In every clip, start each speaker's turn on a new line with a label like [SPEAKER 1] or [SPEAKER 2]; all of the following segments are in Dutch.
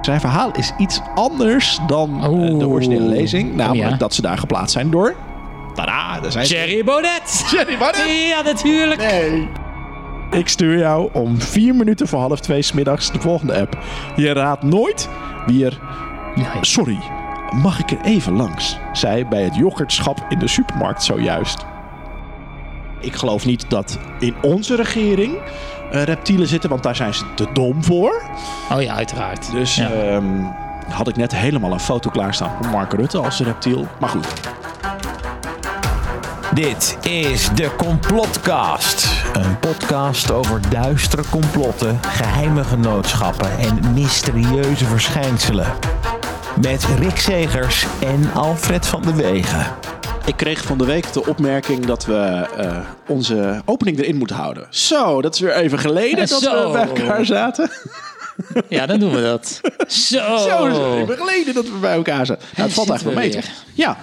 [SPEAKER 1] Zijn verhaal is iets anders dan eh, de
[SPEAKER 2] Oeh.
[SPEAKER 1] originele lezing. Namelijk
[SPEAKER 2] ja.
[SPEAKER 1] dat ze daar geplaatst zijn door... Tada, daar zijn ze.
[SPEAKER 2] Jerry Bonnet!
[SPEAKER 1] Jerry Barnett!
[SPEAKER 2] Ja, natuurlijk.
[SPEAKER 1] Nee. Ik stuur jou om vier minuten voor half twee 's middags de volgende app. Je raadt nooit wie er... Sorry, mag ik er even langs? Zei bij het yoghurtschap in de supermarkt zojuist. Ik geloof niet dat in onze regering eh, reptielen zitten, want daar zijn ze te dom voor.
[SPEAKER 2] Oh ja, uiteraard.
[SPEAKER 1] Dus
[SPEAKER 2] Ja.
[SPEAKER 1] ehm, had ik net helemaal een foto klaarstaan van Mark Rutte als reptiel. Maar goed,
[SPEAKER 3] Dit is de Complotcast. Een podcast over duistere complotten, geheime genootschappen en mysterieuze verschijnselen. Met Rick Segers en Alfred van de Wegen.
[SPEAKER 1] Ik kreeg van de week de opmerking dat we eh, onze opening erin moeten houden. Zo, dat is weer even geleden
[SPEAKER 2] Eh,
[SPEAKER 1] dat
[SPEAKER 2] zo. Oh.
[SPEAKER 1] we bij elkaar zaten.
[SPEAKER 2] ja, dan doen we dat. Zo.
[SPEAKER 1] Zo, is het even geleden dat we bij elkaar zaten. Nou, het valt
[SPEAKER 2] zitten
[SPEAKER 1] eigenlijk wel mee. toch?
[SPEAKER 2] we
[SPEAKER 1] Ja.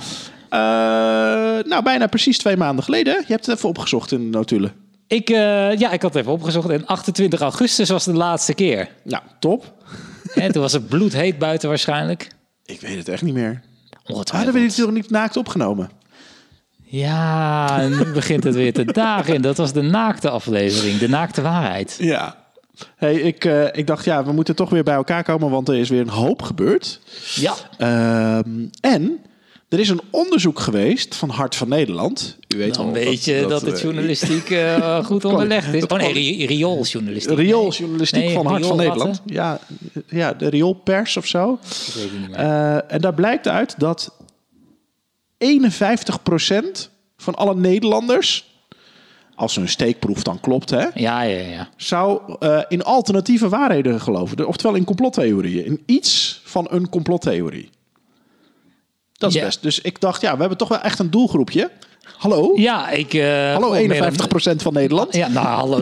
[SPEAKER 1] Eh, nou, bijna precies twee maanden geleden. Je hebt het even opgezocht in de notulen.
[SPEAKER 2] Ik, eh, ja, ik had het even opgezocht. En 28 augustus was de laatste keer.
[SPEAKER 1] Nou, top.
[SPEAKER 2] Hè, toen was het bloedheet buiten waarschijnlijk.
[SPEAKER 1] Ik weet het echt niet meer. Ah, Hadden we
[SPEAKER 2] Ongetwijfeld.
[SPEAKER 1] dit nog niet naakt opgenomen?
[SPEAKER 2] Ja, en nu begint het weer te dagen. Dat was de naakte aflevering. De naakte waarheid.
[SPEAKER 1] Ja. Hey, ik, eh, ik dacht, ja, we moeten toch weer bij elkaar komen, want er is weer een hoop gebeurd.
[SPEAKER 2] Ja.
[SPEAKER 1] Ehm, en er is een onderzoek geweest van Hart van Nederland. U weet
[SPEAKER 2] Dan
[SPEAKER 1] al
[SPEAKER 2] Nou, weet je dat,
[SPEAKER 1] eh,
[SPEAKER 2] het journalistiek eh, goed onderlegd is.
[SPEAKER 1] dat
[SPEAKER 2] Oh nee,
[SPEAKER 1] kwam-
[SPEAKER 2] ri- riooljournalistiek.
[SPEAKER 1] Riooljournalistiek
[SPEAKER 2] Nee,
[SPEAKER 1] van Hart van
[SPEAKER 2] rioolratten.
[SPEAKER 1] Nederland. Ja, ja, de rioolpers of zo.
[SPEAKER 2] Ik weet het niet meer.
[SPEAKER 1] Eh, en daar blijkt uit dat 51% van alle Nederlanders, als hun steekproef dan klopt, hè,
[SPEAKER 2] ja, ja, ja.
[SPEAKER 1] zou eh, in alternatieve waarheden geloven. Oftewel in complottheorieën. In iets van een complottheorie. Dat is
[SPEAKER 2] Ja.
[SPEAKER 1] best. Dus ik dacht, ja, we hebben toch wel echt een doelgroepje. Hallo?
[SPEAKER 2] Ja, ik... eh,
[SPEAKER 1] Hallo
[SPEAKER 2] ook meer dan-
[SPEAKER 1] 51% van Nederland.
[SPEAKER 2] Ja, nou, hallo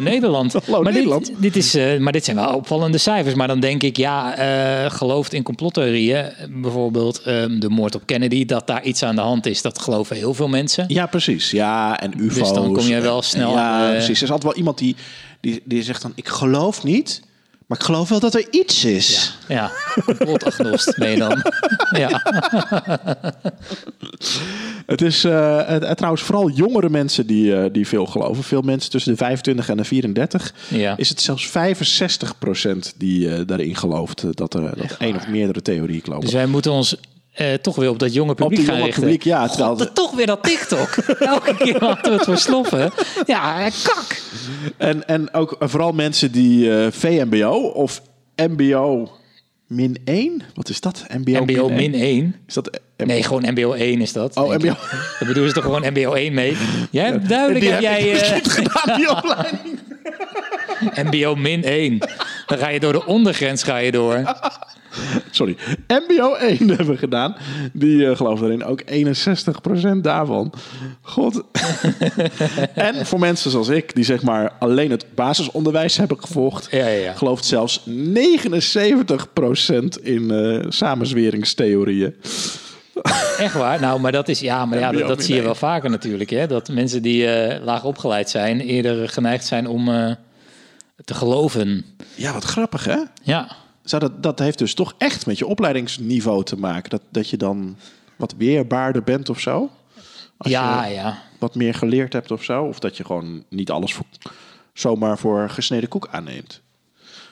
[SPEAKER 2] Nederland.
[SPEAKER 1] Hallo
[SPEAKER 2] maar Dit,
[SPEAKER 1] Nederland.
[SPEAKER 2] dit is, eh, maar dit zijn wel opvallende cijfers. Maar dan denk ik, ja, eh, gelooft in complottheorieën. Bijvoorbeeld ehm, de moord op Kennedy, dat daar iets aan de hand is. Dat geloven heel veel mensen.
[SPEAKER 1] Ja, precies. Ja, en ufo's.
[SPEAKER 2] Dus dan kom je wel
[SPEAKER 1] En-
[SPEAKER 2] snel
[SPEAKER 1] Ja,
[SPEAKER 2] aan de-
[SPEAKER 1] precies. Er is altijd wel iemand die, die, die zegt dan, ik geloof niet, maar ik geloof wel dat er iets is.
[SPEAKER 2] Ja, complotagnost ben je dan. Ja.
[SPEAKER 1] Het is eh, het- het- trouwens vooral jongere mensen die, eh, die veel geloven. Veel mensen tussen de 25 en de 34.
[SPEAKER 2] Ja.
[SPEAKER 1] Is het zelfs 65% die eh, daarin gelooft eh, dat er dat één of meerdere theorieën klopt.
[SPEAKER 2] Dus wij moeten ons eh, toch weer op dat jonge
[SPEAKER 1] Op
[SPEAKER 2] publiek
[SPEAKER 1] die
[SPEAKER 2] gaan
[SPEAKER 1] jonge
[SPEAKER 2] richten.
[SPEAKER 1] publiek, ja, Nou, terwijl-
[SPEAKER 2] God, toch weer dat TikTok. Elke keer hadden we het voor sloffen. Ja, eh, kak.
[SPEAKER 1] En, en ook eh, vooral mensen die eh, VMBO of MBO min 1. Wat is dat? MBO,
[SPEAKER 2] MBO min 1.
[SPEAKER 1] Is dat eh,
[SPEAKER 2] Nee, gewoon MBO 1 is dat.
[SPEAKER 1] Oh,
[SPEAKER 2] denk ik.
[SPEAKER 1] MBO.
[SPEAKER 2] Dan bedoelen ze toch gewoon MBO 1 mee? Jij hebt duidelijk
[SPEAKER 1] Die
[SPEAKER 2] heb
[SPEAKER 1] heb
[SPEAKER 2] jij
[SPEAKER 1] ik
[SPEAKER 2] eh,
[SPEAKER 1] besloten gedaan, die opleiding.
[SPEAKER 2] MBO min 1. Dan ga je door de ondergrens ga je door.
[SPEAKER 1] Sorry. MBO 1 hebben we gedaan. Die eh geloof daarin ook 61% daarvan. God. en voor mensen zoals ik, die zeg maar alleen het basisonderwijs hebben gevolgd,
[SPEAKER 2] Ja, ja, ja.
[SPEAKER 1] gelooft zelfs 79% in eh samenzweringstheorieën.
[SPEAKER 2] Echt waar? Nou, maar dat is ja, maar ja,
[SPEAKER 1] MBO
[SPEAKER 2] dat, dat
[SPEAKER 1] min
[SPEAKER 2] zie je
[SPEAKER 1] één.
[SPEAKER 2] wel vaker natuurlijk. Hè? Dat mensen die eh, laag opgeleid zijn, eerder geneigd zijn om eh, te geloven.
[SPEAKER 1] Ja, wat grappig hè?
[SPEAKER 2] Ja.
[SPEAKER 1] Zou dat, dat heeft dus toch echt met je opleidingsniveau te maken. Dat, dat je dan wat weerbaarder bent of zo? Als
[SPEAKER 2] ja,
[SPEAKER 1] je-
[SPEAKER 2] ja.
[SPEAKER 1] wat meer geleerd hebt of zo. Of dat je gewoon niet alles voor, zomaar voor gesneden koek aanneemt.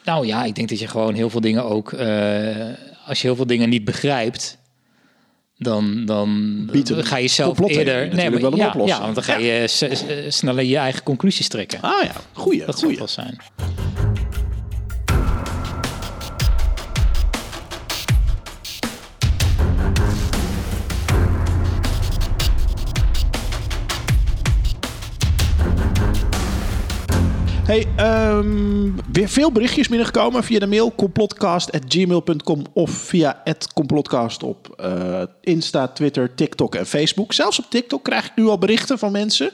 [SPEAKER 2] Nou ja, ik denk dat je gewoon heel veel dingen ook. eh, als je heel veel dingen niet begrijpt. Dan, dan
[SPEAKER 1] Biedt een
[SPEAKER 2] ga je zelf
[SPEAKER 1] complottheorie
[SPEAKER 2] eerder.
[SPEAKER 1] natuurlijk wel een
[SPEAKER 2] ja,
[SPEAKER 1] oplossing.
[SPEAKER 2] ja, want dan ga je s- s- sneller je eigen conclusies trekken.
[SPEAKER 1] Ah ja, goeie,
[SPEAKER 2] dat zou
[SPEAKER 1] goeie.
[SPEAKER 2] wel zijn.
[SPEAKER 1] Hey, ehm, weer veel berichtjes binnengekomen via de mail complotcast.gmail.com of via het complotcast op eh, Insta, Twitter, TikTok en Facebook. Zelfs op TikTok krijg ik nu al berichten van mensen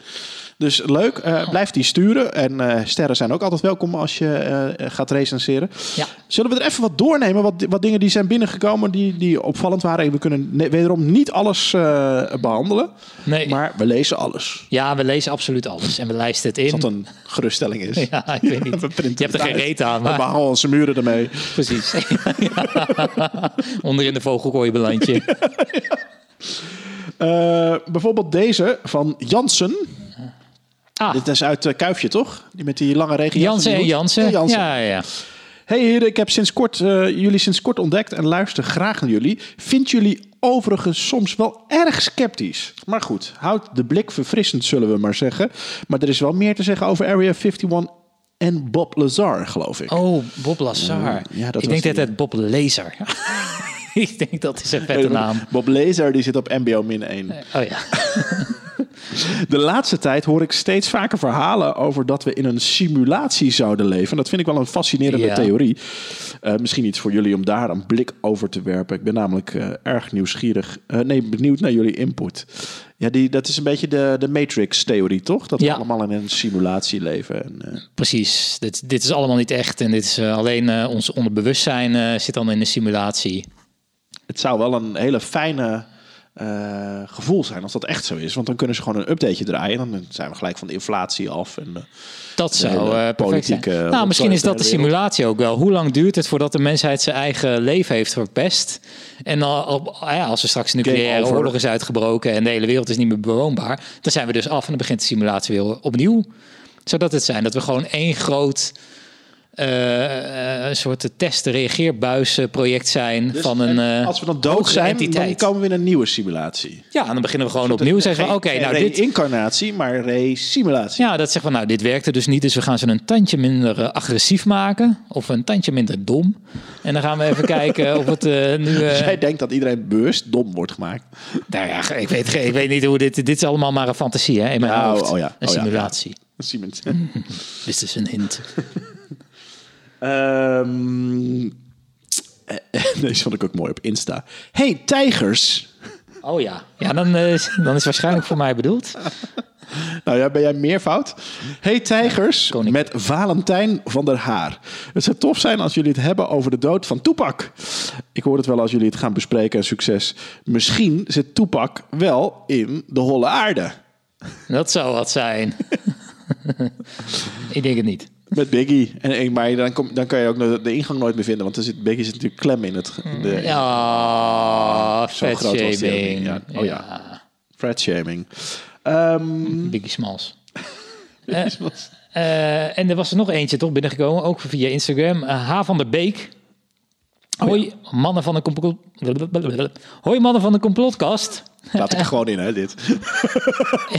[SPEAKER 1] Dus leuk, eh,
[SPEAKER 2] Oh.
[SPEAKER 1] blijf die sturen. En eh, sterren zijn ook altijd welkom als je eh, gaat recenseren.
[SPEAKER 2] Ja.
[SPEAKER 1] Zullen we er even wat doornemen? Wat, wat dingen die zijn binnengekomen die, die opvallend waren. We kunnen ne- wederom niet alles eh, behandelen.
[SPEAKER 2] Nee.
[SPEAKER 1] Maar we lezen alles.
[SPEAKER 2] Ja, we lezen absoluut alles en we lijsten het
[SPEAKER 1] Als
[SPEAKER 2] in.
[SPEAKER 1] dat een geruststelling is.
[SPEAKER 2] Ja, ik weet niet.
[SPEAKER 1] We printen
[SPEAKER 2] Je hebt er
[SPEAKER 1] het
[SPEAKER 2] geen
[SPEAKER 1] uit.
[SPEAKER 2] reet aan,
[SPEAKER 1] We
[SPEAKER 2] maar
[SPEAKER 1] behalen onze muren ermee.
[SPEAKER 2] precies. Ja. Onder in de vogelkooi belandje.
[SPEAKER 1] Eh, bijvoorbeeld deze van Jansen.
[SPEAKER 2] Ah,
[SPEAKER 1] Dit is uit eh, Kuifje, toch? Die met die lange regen.
[SPEAKER 2] Jansen en Jansen.
[SPEAKER 1] Jansen.
[SPEAKER 2] Ja, ja.
[SPEAKER 1] Hey heren, ik heb sinds kort, eh, jullie sinds kort ontdekt en luister graag naar jullie. Vind jullie overigens soms wel erg sceptisch. Maar goed, houd de blik verfrissend, zullen we maar zeggen. Maar er is wel meer te zeggen over Area 51 en Bob Lazar, geloof ik.
[SPEAKER 2] Oh, Bob Lazar.
[SPEAKER 1] ja, dat
[SPEAKER 2] ik
[SPEAKER 1] was
[SPEAKER 2] denk dat
[SPEAKER 1] die.
[SPEAKER 2] het Bob Laser. ik denk dat is een vette naam.
[SPEAKER 1] Bob Lazar die zit op MBO-1.
[SPEAKER 2] Oh ja.
[SPEAKER 1] De laatste tijd hoor ik steeds vaker verhalen over dat we in een simulatie zouden leven. Dat vind ik wel een fascinerende
[SPEAKER 2] Ja.
[SPEAKER 1] theorie. Eh, misschien iets voor jullie om daar een blik over te werpen. Ik ben namelijk eh, erg nieuwsgierig. eh, nee, benieuwd naar jullie input. Ja, die, dat is een beetje de, de Matrix-theorie, toch? Dat we
[SPEAKER 2] Ja.
[SPEAKER 1] allemaal in een simulatie leven. En, eh,
[SPEAKER 2] Precies. Dit, dit is allemaal niet echt. En dit is eh, alleen eh, ons onderbewustzijn eh, zit dan in de simulatie.
[SPEAKER 1] het zou wel een hele fijne eh, gevoel zijn als dat echt zo is. Want dan kunnen ze gewoon een updateje draaien. En dan zijn we gelijk van de inflatie af. En, eh,
[SPEAKER 2] Dat zou
[SPEAKER 1] hele
[SPEAKER 2] eh, perfect
[SPEAKER 1] politieke
[SPEAKER 2] zijn. Nou,
[SPEAKER 1] rotzooi
[SPEAKER 2] misschien is
[SPEAKER 1] op de
[SPEAKER 2] dat de
[SPEAKER 1] hele wereld.
[SPEAKER 2] simulatie ook wel. Hoe lang duurt het voordat de mensheid zijn eigen leven heeft verpest? En al, al- ah ja, als er straks een nucleaire
[SPEAKER 1] over.
[SPEAKER 2] oorlog is uitgebroken en de hele wereld is niet meer bewoonbaar, dan zijn we dus af en dan begint de simulatie weer opnieuw. Zodat het zijn dat we gewoon één groot eh, eh, soort test-reageerbuis-project eh, zijn
[SPEAKER 1] dus-
[SPEAKER 2] van een.
[SPEAKER 1] en
[SPEAKER 2] eh,
[SPEAKER 1] als we dan dood
[SPEAKER 2] hogere
[SPEAKER 1] zijn,
[SPEAKER 2] entiteit.
[SPEAKER 1] dan komen we in een nieuwe simulatie.
[SPEAKER 2] ja, en dan beginnen we gewoon opnieuw. Zeggen we, oké, nou dit,
[SPEAKER 1] incarnatie, maar re-simulatie.
[SPEAKER 2] Ja, dat zegt van nou, dit werkte dus niet, dus we gaan ze een tandje minder eh, agressief maken. Of een tandje minder dom. En dan gaan we even kijken of het eh, nu... eh,
[SPEAKER 1] Zij denkt dat iedereen bewust dom wordt gemaakt.
[SPEAKER 2] nou ja, ik weet, geen- ik weet niet hoe dit... Dit is allemaal maar een fantasie hè, in mijn
[SPEAKER 1] Ja, oh,
[SPEAKER 2] hoofd.
[SPEAKER 1] oh ja,
[SPEAKER 2] een
[SPEAKER 1] oh ja.
[SPEAKER 2] simulatie.
[SPEAKER 1] Dat zien mensen.
[SPEAKER 2] Dus dit is een hint.
[SPEAKER 1] Ehm, eh, Deze vond ik ook mooi op Insta. Hey, tijgers.
[SPEAKER 2] Oh ja. Ja, dan, eh, dan is waarschijnlijk voor mij bedoeld.
[SPEAKER 1] Nou ja, ben jij meervoud? Hey tijgers,
[SPEAKER 2] koning.
[SPEAKER 1] met Valentijn van der Haar. Het zou tof zijn als jullie het hebben over de dood van Toepak. Ik hoor het wel als jullie het gaan bespreken en succes. Misschien zit Toepak wel in de holle aarde.
[SPEAKER 2] Dat zou wat zijn. ik denk het niet.
[SPEAKER 1] Met Biggie. En, en- maar dan, kom, dan kan je ook de, de ingang nooit meer vinden. Want er zit, Biggie zit natuurlijk klem in het in de,
[SPEAKER 2] Ja,
[SPEAKER 1] Zo
[SPEAKER 2] vet
[SPEAKER 1] groot was die ook niet,
[SPEAKER 2] shaming.
[SPEAKER 1] ja. Oh ja. frat shaming.
[SPEAKER 2] Biggie Smalls. Eh, en er was er nog eentje toch binnengekomen, ook via Instagram. Eh, H. van der Beek.
[SPEAKER 1] Oh
[SPEAKER 2] Hoi, mannen van de complot... Hoi, mannen van de complotcast.
[SPEAKER 1] Laat ik er gewoon in, hè, dit.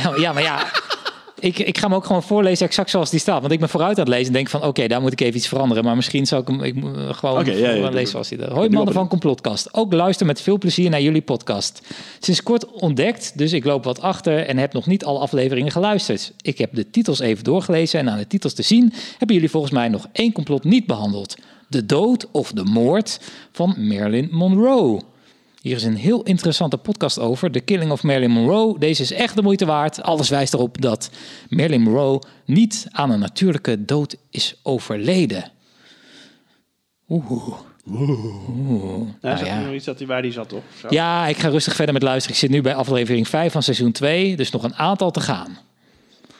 [SPEAKER 2] Ja, ja, maar ja. Ik, ik ga hem ook gewoon voorlezen exact zoals die staat. Want ik ben vooruit aan het lezen en denk van... oké, daar moet ik even iets veranderen. Maar misschien zou ik hem ik, moet, eh, gewoon
[SPEAKER 1] Oké, ja, ja,
[SPEAKER 2] gewoon
[SPEAKER 1] doe
[SPEAKER 2] lezen
[SPEAKER 1] het.
[SPEAKER 2] zoals hij dat...
[SPEAKER 1] ben
[SPEAKER 2] Hoi
[SPEAKER 1] nu
[SPEAKER 2] mannen
[SPEAKER 1] wel
[SPEAKER 2] van Complotcast. Ook luister met veel plezier naar jullie podcast. Sinds kort ontdekt, dus ik loop wat achter... en heb nog niet alle afleveringen geluisterd. Ik heb de titels even doorgelezen en aan de titels te zien... hebben jullie volgens mij nog één complot niet behandeld. De dood of de moord van Marilyn Monroe. Hier is een heel interessante podcast over, The Killing of Marilyn Monroe. Deze is echt de moeite waard. Alles wijst erop dat Marilyn Monroe niet aan een natuurlijke dood is overleden.
[SPEAKER 1] Nou,
[SPEAKER 2] zat ja. hij nog
[SPEAKER 1] iets dat hij waar die zat, toch?
[SPEAKER 2] Ja, ik ga rustig verder met luisteren. Ik zit nu bij aflevering 5 van seizoen 2, dus nog een aantal te gaan.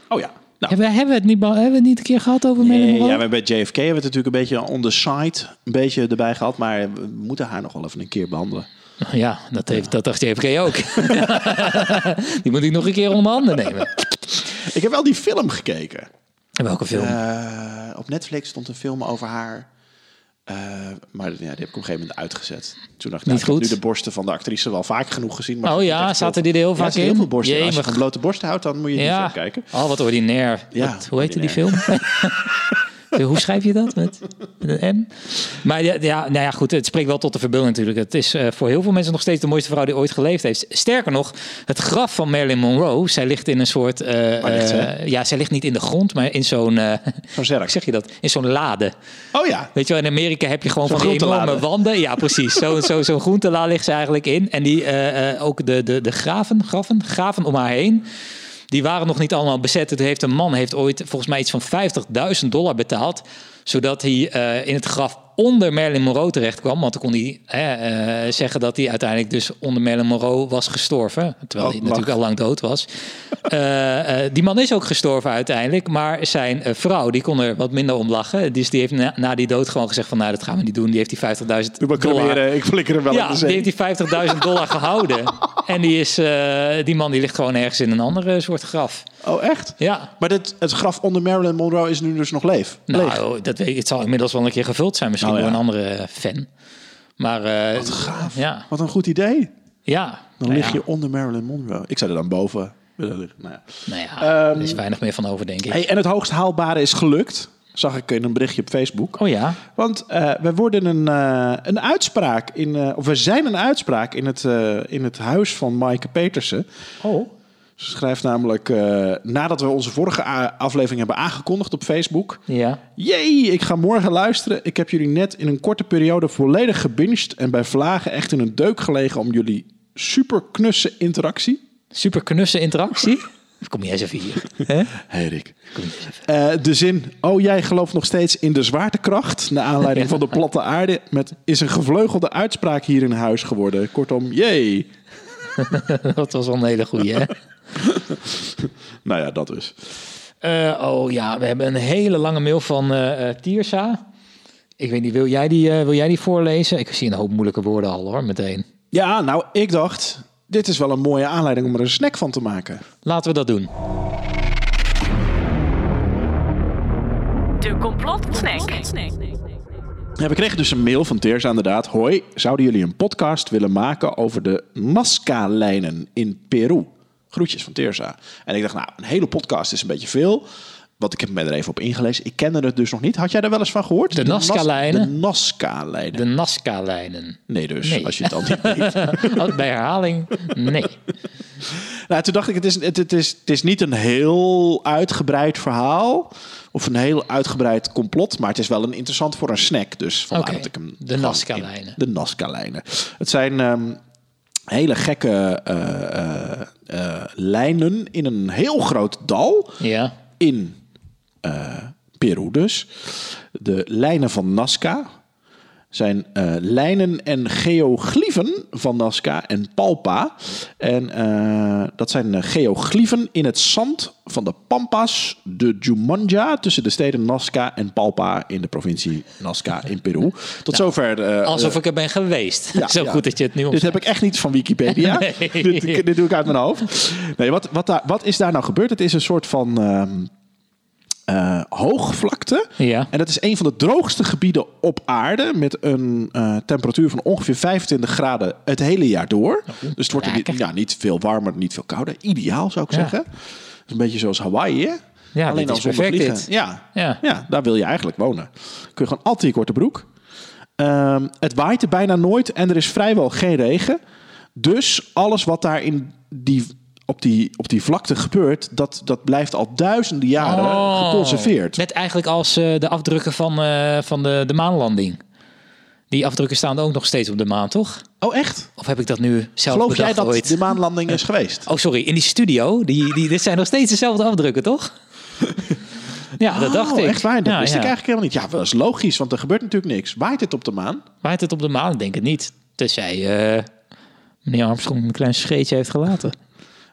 [SPEAKER 1] Oh ja. Nou,
[SPEAKER 2] Hebben, hebben, we het niet, be- hebben we het niet een keer gehad over Marilyn
[SPEAKER 1] nee,
[SPEAKER 2] Monroe?
[SPEAKER 1] ja, maar bij JFK hebben we het natuurlijk een beetje on the side een beetje erbij gehad. Maar we moeten haar nog wel even een keer behandelen.
[SPEAKER 2] Ja, dat, heeft, dat dacht JFK ook. Die moet ik nog een keer onder mijn handen nemen.
[SPEAKER 1] Ik heb wel die film gekeken.
[SPEAKER 2] En welke film?
[SPEAKER 1] Eh, op Netflix stond een film over haar. Eh, maar ja, die heb ik op een gegeven moment uitgezet. Toen dacht ik, nou,
[SPEAKER 2] Niet
[SPEAKER 1] ik heb
[SPEAKER 2] goed.
[SPEAKER 1] nu de borsten van de actrice wel vaak genoeg gezien. Maar
[SPEAKER 2] Oh
[SPEAKER 1] goed,
[SPEAKER 2] ja,
[SPEAKER 1] niet echt
[SPEAKER 2] zaten
[SPEAKER 1] veel-
[SPEAKER 2] die er heel
[SPEAKER 1] Ja,
[SPEAKER 2] vaak
[SPEAKER 1] er zitten
[SPEAKER 2] in?
[SPEAKER 1] heel veel borsten. Als je
[SPEAKER 2] Jemig.
[SPEAKER 1] van blote borsten houdt, dan moet je niet veel kijken.
[SPEAKER 2] Al Oh, wat ordinair.
[SPEAKER 1] Ja,
[SPEAKER 2] Wat- hoe heette die film?
[SPEAKER 1] ordinair.
[SPEAKER 2] Hoe schrijf je dat? Met met een M? Maar ja, ja, nou ja, goed, het spreekt wel tot de verbeelding natuurlijk. Het is eh, voor heel veel mensen nog steeds de mooiste vrouw die ooit geleefd heeft. Sterker nog, het graf van Marilyn Monroe, zij ligt in een soort... eh,
[SPEAKER 1] Waar ligt ze?
[SPEAKER 2] eh, ja, zij ligt niet in de grond, maar in zo'n... eh,
[SPEAKER 1] Zo'n zerk.
[SPEAKER 2] hoe zeg je dat? In zo'n lade.
[SPEAKER 1] Oh ja,
[SPEAKER 2] Weet je wel, in Amerika heb je gewoon
[SPEAKER 1] Zo'n
[SPEAKER 2] van die
[SPEAKER 1] groentelade.
[SPEAKER 2] enorme wanden. Ja, precies. Zo'n zo, zo'n groentela ligt ze eigenlijk in. En die, eh, eh, ook de, de, de graven, graven, graven om haar heen. Die waren nog niet allemaal bezet. Het heeft een man heeft ooit volgens mij iets van 50.000 dollar betaald. Zodat hij eh, in het graf onder Merlin Moreau terecht kwam. Want dan kon hij eh, eh, zeggen dat hij uiteindelijk dus onder Merlin Moreau was gestorven. Terwijl
[SPEAKER 1] Oh,
[SPEAKER 2] hij
[SPEAKER 1] lach.
[SPEAKER 2] natuurlijk al lang dood was. Eh, eh, die man is ook gestorven uiteindelijk. Maar zijn eh, vrouw, die kon er wat minder om lachen. Dus die heeft na, na die dood gewoon gezegd van... nou, dat gaan we niet doen. Die heeft die 50.000
[SPEAKER 1] Doe maar
[SPEAKER 2] dollar
[SPEAKER 1] cremeren, ik flikker hem wel in
[SPEAKER 2] ja,
[SPEAKER 1] de
[SPEAKER 2] die
[SPEAKER 1] zee.
[SPEAKER 2] heeft die 50.000 dollar gehouden. En die, is, eh, die man die ligt gewoon ergens in een andere soort graf.
[SPEAKER 1] Oh, echt?
[SPEAKER 2] Ja,
[SPEAKER 1] Maar dit, het graf onder Marilyn Monroe is nu dus nog leef. leeg.
[SPEAKER 2] nou, dat weet ik. Het zal inmiddels wel een keer gevuld zijn, misschien
[SPEAKER 1] Oh, ja.
[SPEAKER 2] door een andere eh, fan. Maar, eh, Ja,
[SPEAKER 1] Wat een goed idee.
[SPEAKER 2] ja.
[SPEAKER 1] Dan
[SPEAKER 2] Nou
[SPEAKER 1] lig
[SPEAKER 2] ja,
[SPEAKER 1] je onder Marilyn Monroe. Ik zou er dan boven willen liggen. Nou ja.
[SPEAKER 2] Nou ja,
[SPEAKER 1] Ehm,
[SPEAKER 2] er is weinig meer van over, denk ik.
[SPEAKER 1] hey, en het hoogst haalbare is gelukt. Zag ik in een berichtje op Facebook.
[SPEAKER 2] Oh ja,
[SPEAKER 1] Want eh, we worden een, eh, een uitspraak in. eh, of we zijn een uitspraak in het, eh, in het huis van Maaike Petersen.
[SPEAKER 2] Oh.
[SPEAKER 1] Ze schrijft namelijk. eh, nadat we onze vorige a- aflevering hebben aangekondigd op Facebook.
[SPEAKER 2] ja.
[SPEAKER 1] Jee, ik ga morgen luisteren. Ik heb jullie net in een korte periode volledig gebinged en bij vlagen echt in een deuk gelegen om jullie super knusse interactie.
[SPEAKER 2] Super knusse interactie. Kom je eens even hier. hè?
[SPEAKER 1] Hey Rick. Eh, de zin, oh jij gelooft nog steeds in de zwaartekracht, naar aanleiding van de platte aarde, met, is een gevleugelde uitspraak hier in huis geworden. Kortom, jee.
[SPEAKER 2] Dat was wel een hele goeie, hè?
[SPEAKER 1] Nou ja, dat dus.
[SPEAKER 2] Eh, oh ja, we hebben een hele lange mail van eh, eh, Tiersa. Ik weet niet, wil jij, die, eh, wil jij die voorlezen? Ik zie een hoop moeilijke woorden al hoor, meteen.
[SPEAKER 1] Ja, nou ik dacht, dit is wel een mooie aanleiding om er een snack van te maken.
[SPEAKER 2] Laten we dat doen.
[SPEAKER 4] De complotsnack.
[SPEAKER 1] Ja, we kregen dus een mail van Teers inderdaad. Hoi, zouden jullie een podcast willen maken over de Nazca-lijnen in Peru? Groetjes van Teersa. En ik dacht, nou, een hele podcast is een beetje veel. Want ik heb me er even op ingelezen. Ik kende het dus nog niet. Had jij daar wel eens van gehoord?
[SPEAKER 2] De Nazca-lijnen?
[SPEAKER 1] Nas- De Nazca-lijnen.
[SPEAKER 2] De Nazca-lijnen.
[SPEAKER 1] Nee dus,
[SPEAKER 2] Nee.
[SPEAKER 1] als je het al niet weet.
[SPEAKER 2] Oh, Bij herhaling, nee.
[SPEAKER 1] Nou, toen dacht ik, het is, het, het is, het is niet een heel uitgebreid verhaal. Of een heel uitgebreid complot. Maar het is wel een interessant voor een snack. Dus vandaar
[SPEAKER 2] Oké,
[SPEAKER 1] dat ik hem...
[SPEAKER 2] de
[SPEAKER 1] gewoon in-
[SPEAKER 2] Nazca-lijnen.
[SPEAKER 1] De Nazca-lijnen. Het zijn ehm, hele gekke eh, eh, eh, lijnen in een heel groot dal
[SPEAKER 2] Ja,
[SPEAKER 1] in eh, Peru dus. De lijnen van Nazca zijn eh, lijnen en geoglyphen van Nazca en Palpa. En eh, dat zijn eh, geoglyphen in het zand van de Pampas de Jumanja... tussen de steden Nazca en Palpa in de provincie Nazca in Peru. Tot zover... eh,
[SPEAKER 2] alsof ik er ben geweest.
[SPEAKER 1] ja,
[SPEAKER 2] Zo
[SPEAKER 1] ja. Dus-
[SPEAKER 2] goed dat je het nu
[SPEAKER 1] Dit
[SPEAKER 2] omschrijft.
[SPEAKER 1] heb ik echt niet van Wikipedia.
[SPEAKER 2] Nee.
[SPEAKER 1] dit, dit doe ik uit mijn hoofd. Nee, wat, wat, daar, wat is daar nou gebeurd? Het is een soort van ehm, eh, hoogvlakte.
[SPEAKER 2] Ja.
[SPEAKER 1] En dat is een van de droogste gebieden op aarde. Met een eh, temperatuur van ongeveer 25 graden het hele jaar door. dus het wordt er niet,
[SPEAKER 2] Nou, lekker.
[SPEAKER 1] ja, niet veel warmer, niet veel kouder. Ideaal zou ik
[SPEAKER 2] Ja.
[SPEAKER 1] zeggen. Dat is een beetje zoals Hawaii, hè?
[SPEAKER 2] Ja,
[SPEAKER 1] Alleen
[SPEAKER 2] dit
[SPEAKER 1] al zonder
[SPEAKER 2] is perfect,
[SPEAKER 1] vliegen.
[SPEAKER 2] dit.
[SPEAKER 1] Ja.
[SPEAKER 2] Ja.
[SPEAKER 1] Ja. daar wil je eigenlijk wonen. Kun je gewoon altijd in je korte broek. Ehm, het waait er bijna nooit en er is vrijwel geen regen. Dus alles wat daar in die, op, die, op die vlakte gebeurt, dat, dat blijft al duizenden jaren
[SPEAKER 2] Oh,
[SPEAKER 1] geconserveerd.
[SPEAKER 2] Net eigenlijk als eh, de afdrukken van, eh, van de, de maanlanding. Die afdrukken staan ook nog steeds op de maan, toch?
[SPEAKER 1] Oh, echt?
[SPEAKER 2] Of heb ik dat nu zelf
[SPEAKER 1] Geloof jij
[SPEAKER 2] bedacht
[SPEAKER 1] dat
[SPEAKER 2] ooit?
[SPEAKER 1] de maanlanding is geweest?
[SPEAKER 2] Oh, sorry. In die studio. Die, die, dit zijn nog steeds dezelfde afdrukken, toch? ja, dat dacht
[SPEAKER 1] Oh,
[SPEAKER 2] ik.
[SPEAKER 1] Echt waar? Dat
[SPEAKER 2] ja,
[SPEAKER 1] wist
[SPEAKER 2] ja.
[SPEAKER 1] ik eigenlijk helemaal niet. Ja, dat is logisch, want er gebeurt natuurlijk niks. Waait het op de maan?
[SPEAKER 2] Waait het op de maan? Denk het niet. Tenzij eh, meneer Armstrong een klein scheetje heeft gelaten.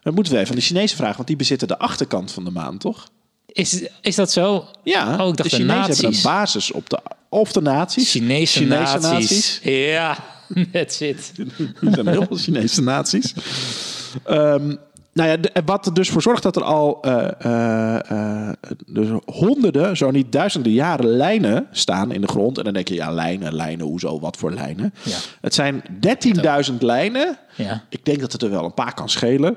[SPEAKER 1] Dat moeten we even aan de Chinezen vragen, want die bezitten de achterkant van de maan, toch?
[SPEAKER 2] Is, is dat zo?
[SPEAKER 1] Ja,
[SPEAKER 2] Oh, ik dacht
[SPEAKER 1] de
[SPEAKER 2] de
[SPEAKER 1] Chinezen hebben
[SPEAKER 2] nazi's.
[SPEAKER 1] een basis op de... Of de naties.
[SPEAKER 2] Chinese,
[SPEAKER 1] Chinese
[SPEAKER 2] naties. Ja, that's it.
[SPEAKER 1] Er zijn heel veel Chinese naties. Ehm, nou ja, de- wat er dus voor zorgt dat er al eh, eh, eh, dus honderden, zo niet duizenden jaren lijnen staan in de grond. En dan denk je, ja, lijnen, lijnen, hoezo, wat voor lijnen?
[SPEAKER 2] Ja.
[SPEAKER 1] Het zijn 13.000 lijnen.
[SPEAKER 2] Ja.
[SPEAKER 1] Ik denk dat het er wel een paar kan schelen.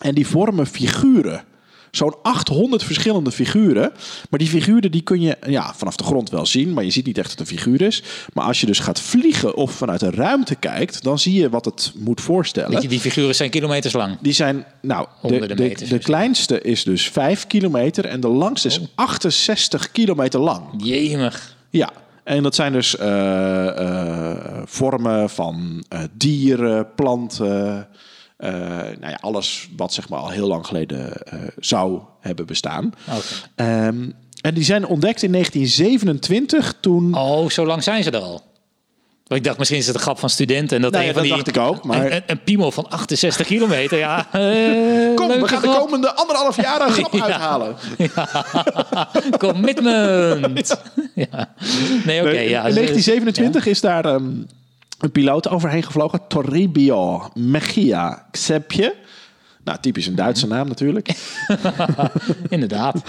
[SPEAKER 1] En die vormen figuren. Zo'n 800 verschillende figuren. Maar die figuren die kun je ja, vanaf de grond wel zien. Maar je ziet niet echt dat het een figuur is. Maar als je dus gaat vliegen of vanuit de ruimte kijkt. dan zie je wat het moet
[SPEAKER 2] Weet je,
[SPEAKER 1] voorstellen.
[SPEAKER 2] die figuren zijn kilometers lang.
[SPEAKER 1] Die zijn, nou, de,
[SPEAKER 2] Honderden
[SPEAKER 1] de,
[SPEAKER 2] meters
[SPEAKER 1] de
[SPEAKER 2] misschien.
[SPEAKER 1] kleinste is dus 5 kilometer. en de langste
[SPEAKER 2] Oh.
[SPEAKER 1] is 68 kilometer lang.
[SPEAKER 2] Jemig.
[SPEAKER 1] Ja, en dat zijn dus eh, eh, vormen van eh, dieren, planten, eh, nou ja, alles wat zeg maar al heel lang geleden eh, zou hebben bestaan.
[SPEAKER 2] Oké.
[SPEAKER 1] Ehm, en die zijn ontdekt in 1927 toen...
[SPEAKER 2] Oh, zo lang zijn ze er al. Want ik dacht, misschien is het een grap van studenten. En dat
[SPEAKER 1] Nou ja,
[SPEAKER 2] een van
[SPEAKER 1] dat
[SPEAKER 2] die,
[SPEAKER 1] dacht ik ook, maar-
[SPEAKER 2] Een, een, een piemel van 68 kilometer, ja. eh,
[SPEAKER 1] Kom,
[SPEAKER 2] leuke
[SPEAKER 1] we gaan de
[SPEAKER 2] grap.
[SPEAKER 1] komende anderhalf jaar een grap
[SPEAKER 2] Ja.
[SPEAKER 1] uithalen.
[SPEAKER 2] Commitment. Ja. Nee, dus- oké.
[SPEAKER 1] Nee,
[SPEAKER 2] ja,
[SPEAKER 1] in
[SPEAKER 2] ze-
[SPEAKER 1] 1927 is daar ehm, een piloot overheen gevlogen. Toribio Mejia Xepje. Nou, typisch een Duitse
[SPEAKER 2] Mhm.
[SPEAKER 1] naam natuurlijk.
[SPEAKER 2] ja, inderdaad.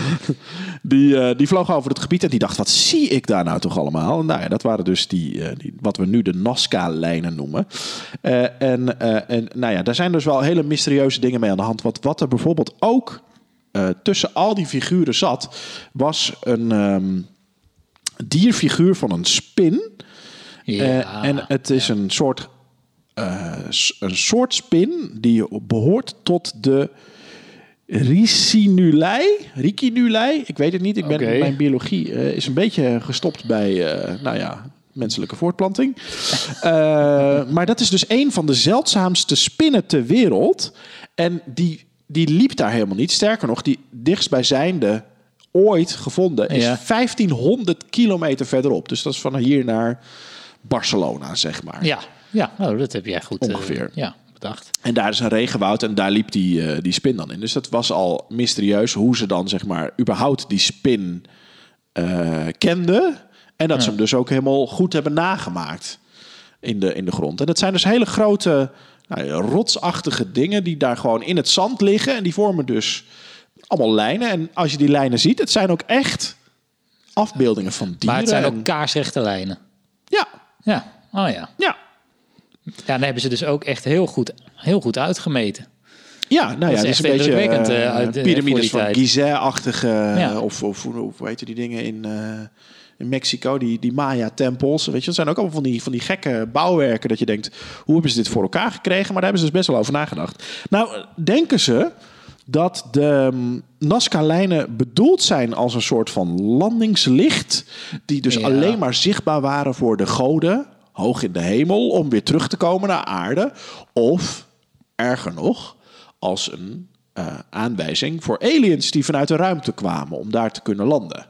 [SPEAKER 1] Die, eh, die vloog over het gebied en die dacht, wat zie ik daar nou toch allemaal? Nou ja, dat waren dus die, eh, die wat we nu de Nazca-lijnen noemen. Eh, en, eh, en nou ja, daar zijn dus wel hele mysterieuze dingen mee aan de hand. Want wat er bijvoorbeeld ook eh, tussen al die figuren zat, was een ehm, dierfiguur van een spin.
[SPEAKER 2] Ja.
[SPEAKER 1] Eh, en het is een, soort, eh, s- een soort spin die behoort tot de Ricinulae. Ricinulae? Ik weet het niet. Ik ben,
[SPEAKER 2] Oké.
[SPEAKER 1] Mijn biologie eh, is een beetje gestopt bij, eh, nou ja, menselijke voortplanting. Eh, maar dat is dus een van de zeldzaamste spinnen ter wereld. En die, die liep daar helemaal niet. Sterker nog, die dichtstbijzijnde ooit gevonden is
[SPEAKER 2] Ja.
[SPEAKER 1] 1500 kilometer verderop. Dus dat is van hier naar Barcelona, zeg maar.
[SPEAKER 2] ja, ja nou, dat heb jij goed eh,
[SPEAKER 1] Ongeveer.
[SPEAKER 2] ja, bedacht.
[SPEAKER 1] En daar is een regenwoud en daar liep die, eh, die spin dan in. Dus dat was al mysterieus hoe ze dan, zeg maar, überhaupt die spin eh kenden. En dat ze hem dus ook helemaal goed hebben nagemaakt in de, in de grond. En dat zijn dus hele grote nou, ja, rotsachtige dingen die daar gewoon in het zand liggen. En die vormen dus allemaal lijnen. En als je die lijnen ziet, het zijn ook echt afbeeldingen van dieren.
[SPEAKER 2] Maar het zijn
[SPEAKER 1] en-
[SPEAKER 2] ook kaarsrechte lijnen.
[SPEAKER 1] Ja,
[SPEAKER 2] Ja, oh ja.
[SPEAKER 1] ja.
[SPEAKER 2] Ja, dan hebben ze dus ook echt heel goed, heel goed uitgemeten.
[SPEAKER 1] Ja, nou ja,
[SPEAKER 2] is
[SPEAKER 1] dat is
[SPEAKER 2] echt
[SPEAKER 1] een beetje
[SPEAKER 2] indrukwekkend, eh,
[SPEAKER 1] eh,
[SPEAKER 2] uit, eh, voor die
[SPEAKER 1] piramides van
[SPEAKER 2] tijd.
[SPEAKER 1] Gizeh-achtige,
[SPEAKER 2] Ja.
[SPEAKER 1] eh, of, of, hoe- hoe hoe heet die dingen in, eh, in Mexico, die, die Maya-tempels. Weet je, dat zijn ook allemaal van die, van die gekke bouwwerken dat je denkt, hoe hebben ze dit voor elkaar gekregen? Maar daar hebben ze dus best wel over nagedacht. Nou, eh, denken ze dat de mm, Nazca-lijnen bedoeld zijn als een soort van landingslicht, die dus
[SPEAKER 2] Ja.
[SPEAKER 1] alleen maar zichtbaar waren voor de goden, hoog in de hemel, om weer terug te komen naar aarde. Of, erger nog, als een eh, aanwijzing voor aliens die vanuit de ruimte kwamen om daar te kunnen landen.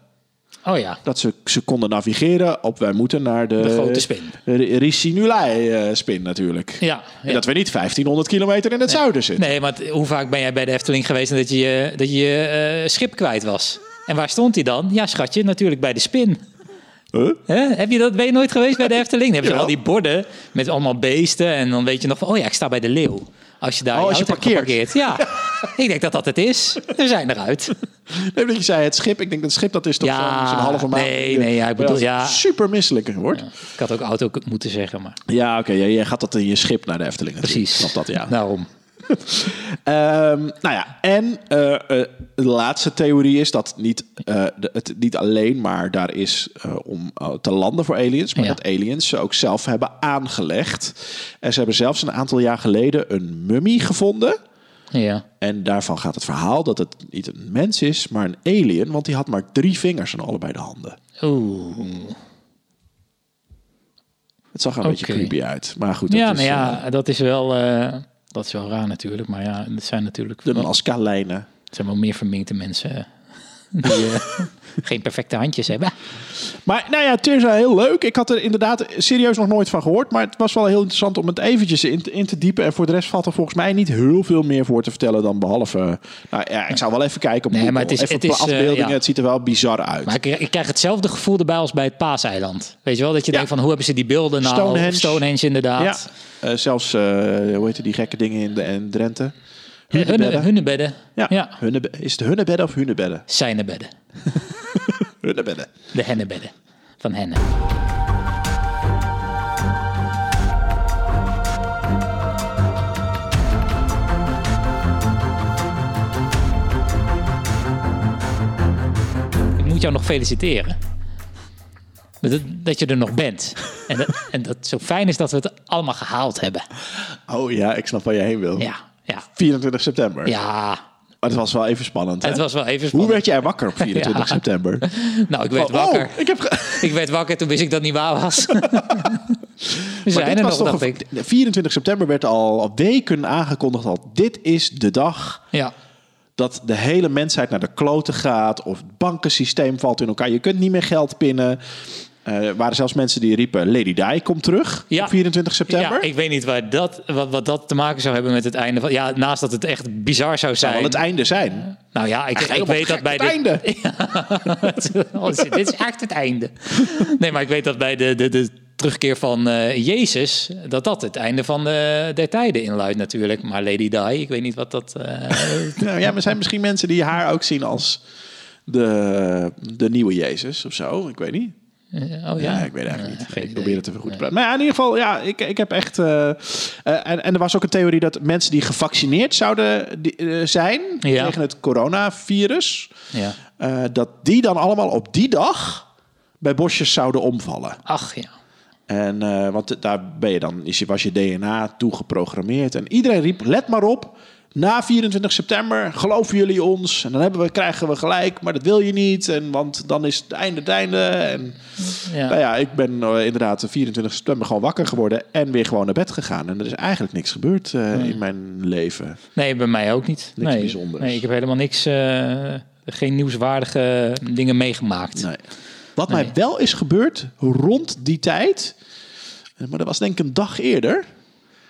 [SPEAKER 2] Oh ja.
[SPEAKER 1] Dat ze, ze konden navigeren op wij moeten naar de,
[SPEAKER 2] De grote spin.
[SPEAKER 1] R- Ricinulae eh, spin natuurlijk.
[SPEAKER 2] Ja,
[SPEAKER 1] En
[SPEAKER 2] ja.
[SPEAKER 1] dat we niet 1500 kilometer in het zuiden zitten.
[SPEAKER 2] Nee, maar t- hoe vaak ben jij bij de Efteling geweest en dat je je, dat je, je eh, schip kwijt was? En waar stond hij dan? Ja, schatje, natuurlijk bij de spin.
[SPEAKER 1] Huh?
[SPEAKER 2] Hè? Heb je dat, ben je nooit geweest bij de Efteling? Dan hebben ze
[SPEAKER 1] Ja.
[SPEAKER 2] al die borden met allemaal beesten. En dan weet je nog van, oh ja, ik sta bij de leeuw. Als je daar
[SPEAKER 1] Oh, als je
[SPEAKER 2] auto hebt
[SPEAKER 1] parkeert.
[SPEAKER 2] geparkeerd. Ja, ik denk dat dat het is. We zijn eruit.
[SPEAKER 1] Nee, dat je zei het schip. Ik denk dat schip dat is toch
[SPEAKER 2] Ja,
[SPEAKER 1] zo'n, zo'n halve maand.
[SPEAKER 2] nee, nee, ja, ik bedoel, ja.
[SPEAKER 1] Super misselijk wordt. Ja,
[SPEAKER 2] Ik had ook auto k- moeten zeggen, maar
[SPEAKER 1] oké. jij, jij gaat dat in je schip naar de Efteling. natuurlijk.
[SPEAKER 2] precies.
[SPEAKER 1] Snap dat, ja.
[SPEAKER 2] Daarom.
[SPEAKER 1] Ehm, nou ja, en eh, eh, de laatste theorie is dat niet, eh, de- het niet alleen maar daar is eh, om eh, te landen voor aliens, maar
[SPEAKER 2] Ja.
[SPEAKER 1] dat aliens ze ook zelf hebben aangelegd. En ze hebben zelfs een aantal jaar geleden een mummie gevonden.
[SPEAKER 2] Ja.
[SPEAKER 1] En daarvan gaat het verhaal dat het niet een mens is, maar een alien, want die had maar drie vingers aan allebei de handen.
[SPEAKER 2] Oeh.
[SPEAKER 1] Het zag er een beetje
[SPEAKER 2] Oké.
[SPEAKER 1] creepy uit, maar goed.
[SPEAKER 2] Ja,
[SPEAKER 1] dat is,
[SPEAKER 2] nou
[SPEAKER 1] eh,
[SPEAKER 2] ja, dat is wel... eh, dat is wel raar natuurlijk, maar ja, het zijn natuurlijk
[SPEAKER 1] de
[SPEAKER 2] wel-
[SPEAKER 1] Nazca-lijnen.
[SPEAKER 2] het zijn wel meer verminkte mensen die eh, geen perfecte handjes hebben.
[SPEAKER 1] Maar nou ja, Tirza, heel leuk. Ik had er inderdaad serieus nog nooit van gehoord. Maar het was wel heel interessant om het eventjes in te, in te diepen. En voor de rest valt er volgens mij niet heel veel meer voor te vertellen dan behalve... Nou ja, ik zou wel even kijken op
[SPEAKER 2] Nee,
[SPEAKER 1] Google.
[SPEAKER 2] maar het is-
[SPEAKER 1] even
[SPEAKER 2] het
[SPEAKER 1] op
[SPEAKER 2] is,
[SPEAKER 1] de
[SPEAKER 2] eh,
[SPEAKER 1] afbeeldingen.
[SPEAKER 2] ja.
[SPEAKER 1] Het ziet er wel bizar uit.
[SPEAKER 2] Maar ik, ik krijg hetzelfde gevoel erbij als bij het Paaseiland. Weet je wel, dat je denkt van hoe hebben ze die beelden nou?
[SPEAKER 1] Stonehenge.
[SPEAKER 2] Stonehenge
[SPEAKER 1] ja,
[SPEAKER 2] inderdaad.
[SPEAKER 1] Eh, zelfs, eh, hoe heet die gekke dingen in, de, in Drenthe?
[SPEAKER 2] Eh, Hunne,
[SPEAKER 1] Hunebedden.
[SPEAKER 2] hunnebedden.
[SPEAKER 1] ja,
[SPEAKER 2] Ja.
[SPEAKER 1] Hunebe- is het hunnebedden of hunebedden?
[SPEAKER 2] Zijnebedden.
[SPEAKER 1] Hunnebedden.
[SPEAKER 2] De hennebedden. Van hennen. Ik moet jou nog feliciteren. Dat, dat je er nog bent. En dat, en dat zo fijn is dat we het allemaal gehaald hebben.
[SPEAKER 1] Oh ja, ik snap waar je heen wil.
[SPEAKER 2] Ja, ja,
[SPEAKER 1] 24 september.
[SPEAKER 2] ja.
[SPEAKER 1] Maar het was wel even spannend.
[SPEAKER 2] Het
[SPEAKER 1] hè?
[SPEAKER 2] was wel even
[SPEAKER 1] Hoe Oh,
[SPEAKER 2] spannend.
[SPEAKER 1] werd jij wakker op 24
[SPEAKER 2] Ja.
[SPEAKER 1] september?
[SPEAKER 2] Nou, ik werd
[SPEAKER 1] Van,
[SPEAKER 2] wakker.
[SPEAKER 1] Oh, ik heb... ge-
[SPEAKER 2] Ik werd wakker, toen wist ik dat het niet waar was. We zijn er nog,
[SPEAKER 1] toch
[SPEAKER 2] dacht
[SPEAKER 1] een-
[SPEAKER 2] ik.
[SPEAKER 1] 24 september werd al al weken aangekondigd al. Dit is de dag
[SPEAKER 2] Ja.
[SPEAKER 1] dat de hele mensheid naar de kloten gaat. Of het bankensysteem valt in elkaar. Je kunt niet meer geld pinnen. Eh, er waren zelfs mensen die riepen... Lady Di komt terug
[SPEAKER 2] Ja.
[SPEAKER 1] op 24 september.
[SPEAKER 2] Ja, ik weet niet waar dat, wat, wat dat te maken zou hebben met het einde. Van, ja, naast dat het echt bizar
[SPEAKER 1] zou
[SPEAKER 2] zou zijn.
[SPEAKER 1] wel Nou, het einde zijn.
[SPEAKER 2] nou ja, ik, ik weet dat bij
[SPEAKER 1] het
[SPEAKER 2] de,
[SPEAKER 1] einde.
[SPEAKER 2] Oh, dit is echt het einde. Nee, maar ik weet dat bij de, de, de terugkeer van eh, Jezus, dat dat het einde van de, der tijden inluidt natuurlijk. Maar Lady Di, ik weet niet wat dat... eh,
[SPEAKER 1] Nou ja, maar zijn misschien mensen die haar ook zien als de, de nieuwe Jezus of zo. Ik weet niet.
[SPEAKER 2] oh
[SPEAKER 1] Ja,
[SPEAKER 2] ja.
[SPEAKER 1] ik weet het eigenlijk
[SPEAKER 2] Eh,
[SPEAKER 1] niet.
[SPEAKER 2] geen
[SPEAKER 1] Ik
[SPEAKER 2] idee.
[SPEAKER 1] probeer het even goed te praten. Maar ja, in ieder geval, ja, ik, ik heb echt... eh, eh, en, en er was ook een theorie dat mensen die gevaccineerd zouden die- eh, zijn...
[SPEAKER 2] Ja.
[SPEAKER 1] tegen het coronavirus...
[SPEAKER 2] Ja.
[SPEAKER 1] eh, dat die dan allemaal op die dag bij bosjes zouden omvallen.
[SPEAKER 2] Ach ja.
[SPEAKER 1] En, eh, want daar ben je dan, is je, was je DNA toegeprogrammeerd. En iedereen riep, let maar op, na 24 september geloven jullie ons. En dan hebben we, krijgen we gelijk, maar dat wil je niet. En, want dan is het einde het einde. En,
[SPEAKER 2] Ja.
[SPEAKER 1] Nou ja, ik ben eh, inderdaad 24 september gewoon wakker geworden en weer gewoon naar bed gegaan. En er is eigenlijk niks gebeurd eh, in mijn leven.
[SPEAKER 2] Nee, bij mij ook niet.
[SPEAKER 1] Niks
[SPEAKER 2] nee.
[SPEAKER 1] bijzonders.
[SPEAKER 2] Nee, ik heb helemaal niks... eh, geen nieuwswaardige dingen meegemaakt.
[SPEAKER 1] Nee. Wat mij wel is gebeurd rond die tijd, eh, maar dat was denk ik een dag eerder.